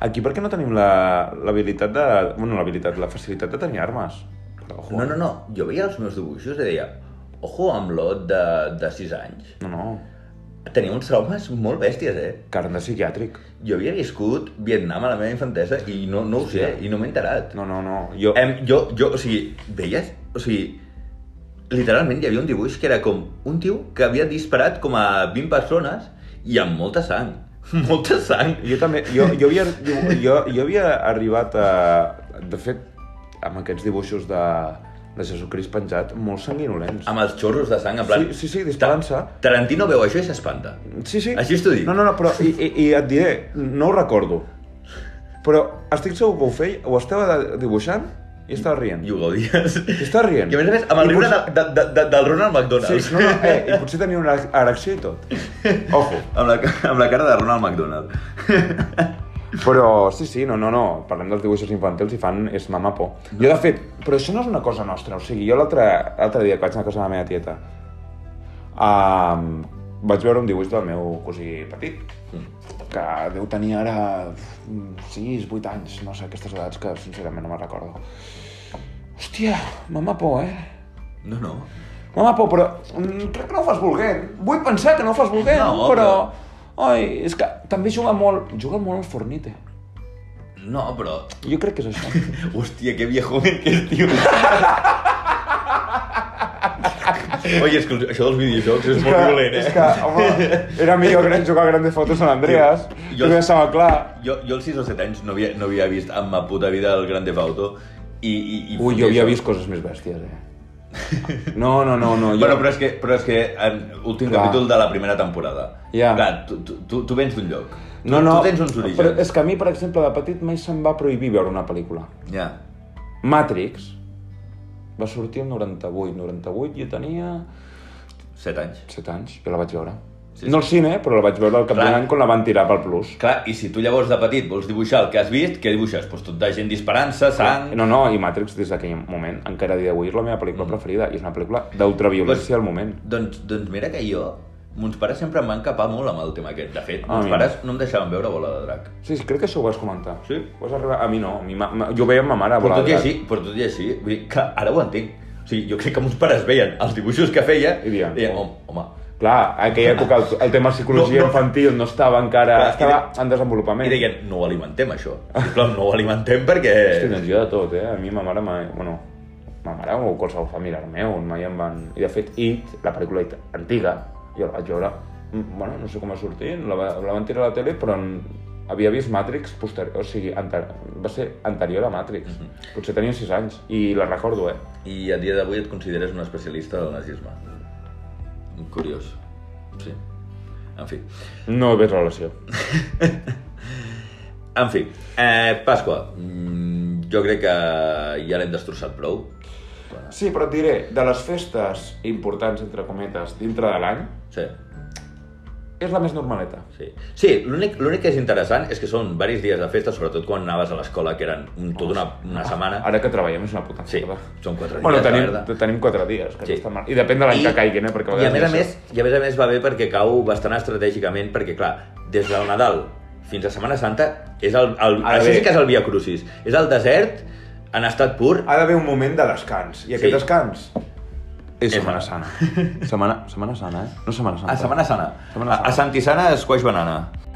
[SPEAKER 2] Aquí perquè no tenim la- l'habilitat de... Bueno, l'habilitat, la facilitat de tenir armes. Ojo.
[SPEAKER 1] No, no, no. Jo veia els meus dibuixos i deia, ojo amb l'ot de, de 6 anys.
[SPEAKER 2] No, no.
[SPEAKER 1] Tenia uns traumes molt bèsties, eh?
[SPEAKER 2] Carn de psiquiàtric.
[SPEAKER 1] Jo havia viscut Vietnam a la meva infantesa i no, no ho sé,
[SPEAKER 2] Hòstia.
[SPEAKER 1] i no m'he enterat.
[SPEAKER 2] No, no, no. Jo...
[SPEAKER 1] Em, jo, jo, o sigui, veies? O sigui, literalment hi havia un dibuix que era com un tio que havia disparat com a 20 persones i amb molta sang. Molta sang.
[SPEAKER 2] Jo també, jo, jo, havia, jo, jo, jo havia arribat a... De fet, amb aquests dibuixos de, de Jesucrist penjat, molt sanguinolents.
[SPEAKER 1] Amb els xorros de sang, en plan...
[SPEAKER 2] Sí, sí, sí, disparant-se.
[SPEAKER 1] Ta- Tarantino veu això i s'espanta.
[SPEAKER 2] Sí, sí.
[SPEAKER 1] Així us t'ho dic.
[SPEAKER 2] No, no, no, però i, i, i et diré, no ho recordo. Però estic segur que ho feia, ho estava de- dibuixant i estava rient.
[SPEAKER 1] I ho gaudies.
[SPEAKER 2] I estava rient.
[SPEAKER 1] I a més a més, amb el
[SPEAKER 2] I
[SPEAKER 1] riure de,
[SPEAKER 2] potser-
[SPEAKER 1] de, de, de, del Ronald
[SPEAKER 2] Sí,
[SPEAKER 1] McDonald.
[SPEAKER 2] no, no, eh, i potser tenia una erecció i tot. Ojo.
[SPEAKER 1] amb, la, ca- amb la cara de Ronald McDonald.
[SPEAKER 2] Però sí, sí, no, no, no. Parlem dels dibuixos infantils i fan és mama por. Jo, de fet, però això no és una cosa nostra. O sigui, jo l'altre l'altre dia que vaig anar a casa de la meva tieta um, vaig veure un dibuix del meu cosí petit que deu tenir ara 6, 8 anys, no sé, aquestes edats que sincerament no me'n recordo. Hòstia, mama por, eh?
[SPEAKER 1] No, no.
[SPEAKER 2] Mama, Pau, però mm, crec que no ho fas volguent. Vull pensar que no ho fas volguent,
[SPEAKER 1] No,
[SPEAKER 2] no, però... Ai, és que també juga molt... Juga molt al Fornite.
[SPEAKER 1] No, però...
[SPEAKER 2] Jo crec que és això.
[SPEAKER 1] Hostia, qué viejo que és, tio. Oye, és que això dels videojocs és, molt violent, eh?
[SPEAKER 2] És que, home, era millor que jugar a Grandes Fotos San Andreas.
[SPEAKER 1] Tio, jo-
[SPEAKER 2] Jo, jo estava clar.
[SPEAKER 1] Jo, jo als 6 o 7 anys no havia, no havia vist en ma puta vida el Grand Theft Auto i... i, i
[SPEAKER 2] Ui, jo havia vist coses més bèsties, eh? No, no, no, no.
[SPEAKER 1] Jo... Bueno, però és que, però és que en últim
[SPEAKER 2] Clar.
[SPEAKER 1] Clar. capítol de la primera temporada.
[SPEAKER 2] Ja.
[SPEAKER 1] Clar, tu, tu, tu, tu vens d'un lloc. Tu,
[SPEAKER 2] no, no,
[SPEAKER 1] tu tens uns orígens.
[SPEAKER 2] Però és que a mi, per exemple, de petit mai se'm va prohibir veure una pel·lícula.
[SPEAKER 1] Ja.
[SPEAKER 2] Matrix va sortir el 98. 98 jo tenia
[SPEAKER 1] Set anys.
[SPEAKER 2] 7 anys, jo la vaig veure.
[SPEAKER 1] Sí,
[SPEAKER 2] Sí, no al cine, però la vaig veure al cap
[SPEAKER 1] Clar.
[SPEAKER 2] d'un any quan la van tirar pel Plus.
[SPEAKER 1] Clar, i si tu llavors de petit vols dibuixar el que has vist, què dibuixes? Pues tot de gent disparant-se, sang...
[SPEAKER 2] No, no, i Matrix des d'aquell moment, encara a dia d'avui, és la meva pel·lícula preferida, i és una pel·lícula d'ultraviolència
[SPEAKER 1] Mm. Pues-
[SPEAKER 2] al moment.
[SPEAKER 1] Doncs, doncs mira que jo... Mons pares sempre em van capar molt amb el tema aquest. De fet,
[SPEAKER 2] Ah,
[SPEAKER 1] mons
[SPEAKER 2] mira.
[SPEAKER 1] pares no em deixaven veure Bola de Drac.
[SPEAKER 2] Sí, sí, crec que això ho vas comentar.
[SPEAKER 1] Sí?
[SPEAKER 2] Ho Vas arribar... A mi no, a mi, ma... ma- jo ho veia amb ma mare. a
[SPEAKER 1] Però
[SPEAKER 2] volar eh?
[SPEAKER 1] tot, i
[SPEAKER 2] de
[SPEAKER 1] així, però tot i així, vull dir, que ara ho entenc. O sigui, jo crec que mons pares veien els dibuixos que feia
[SPEAKER 2] I
[SPEAKER 1] i
[SPEAKER 2] diuen,
[SPEAKER 1] deien,
[SPEAKER 2] "Oh".
[SPEAKER 1] home, home.
[SPEAKER 2] drac. Clar, a aquella època el, el tema psicologia
[SPEAKER 1] No, no.
[SPEAKER 2] no, no. infantil no estava encara...
[SPEAKER 1] Clar, i
[SPEAKER 2] estava
[SPEAKER 1] de-
[SPEAKER 2] en desenvolupament.
[SPEAKER 1] I deien, no ho alimentem, això. Sisplau, no ho alimentem perquè...
[SPEAKER 2] Hosti, doncs jo de tot, eh? A mi ma mare, mai... bueno, ma mare o qualsevol familiar meu, mai em van... I de fet, It, la pel·lícula It antiga, jo la vaig veure, mm, bueno, no sé com va sortir, la, va- la van tirar a la tele, però en... havia vist Matrix posterior, o sigui, anter... va ser anterior a Matrix. Potser tenia 6 anys, i la recordo, eh?
[SPEAKER 1] I a dia d'avui et consideres un especialista del nazisme. Curiós. Sí. En fi.
[SPEAKER 2] No ves relació.
[SPEAKER 1] En fi. Eh, Pasqua. Mm, jo crec que ja l'hem destrossat prou.
[SPEAKER 2] Sí, però et diré, de les festes importants, entre cometes, dintre de l'any,
[SPEAKER 1] Sí.
[SPEAKER 2] és la més normaleta.
[SPEAKER 1] Sí, sí l'únic l'únic que és interessant és que són diversos dies de festa, sobretot quan anaves a l'escola, que eren un, tot una, una setmana.
[SPEAKER 2] Ara que treballem és una puta
[SPEAKER 1] Sí,
[SPEAKER 2] merda.
[SPEAKER 1] són quatre dies,
[SPEAKER 2] Ah, Bueno,
[SPEAKER 1] la
[SPEAKER 2] tenim,
[SPEAKER 1] verdad.
[SPEAKER 2] tenim quatre dies, que
[SPEAKER 1] Sí.
[SPEAKER 2] sí. està mal. I depèn de l'any que caiguin, eh? Perquè
[SPEAKER 1] I a, més a
[SPEAKER 2] vegades
[SPEAKER 1] més,
[SPEAKER 2] ja
[SPEAKER 1] I a més a més va bé perquè cau bastant estratègicament, perquè clar, des del Nadal fins a Setmana Santa, és el, el,
[SPEAKER 2] Ara
[SPEAKER 1] això
[SPEAKER 2] bé.
[SPEAKER 1] sí que és el Via Crucis. És el desert en estat pur.
[SPEAKER 2] sé. Ha d'haver un moment de descans. I aquest
[SPEAKER 1] Sí.
[SPEAKER 2] descans... És
[SPEAKER 1] Setmana
[SPEAKER 2] Setmana Sana. Setmana, setmana Sana, eh? No Setmana Santa.
[SPEAKER 1] A Setmana Sana.
[SPEAKER 2] Setmana
[SPEAKER 1] A,
[SPEAKER 2] Santa.
[SPEAKER 1] a Santisana és Quaix Banana.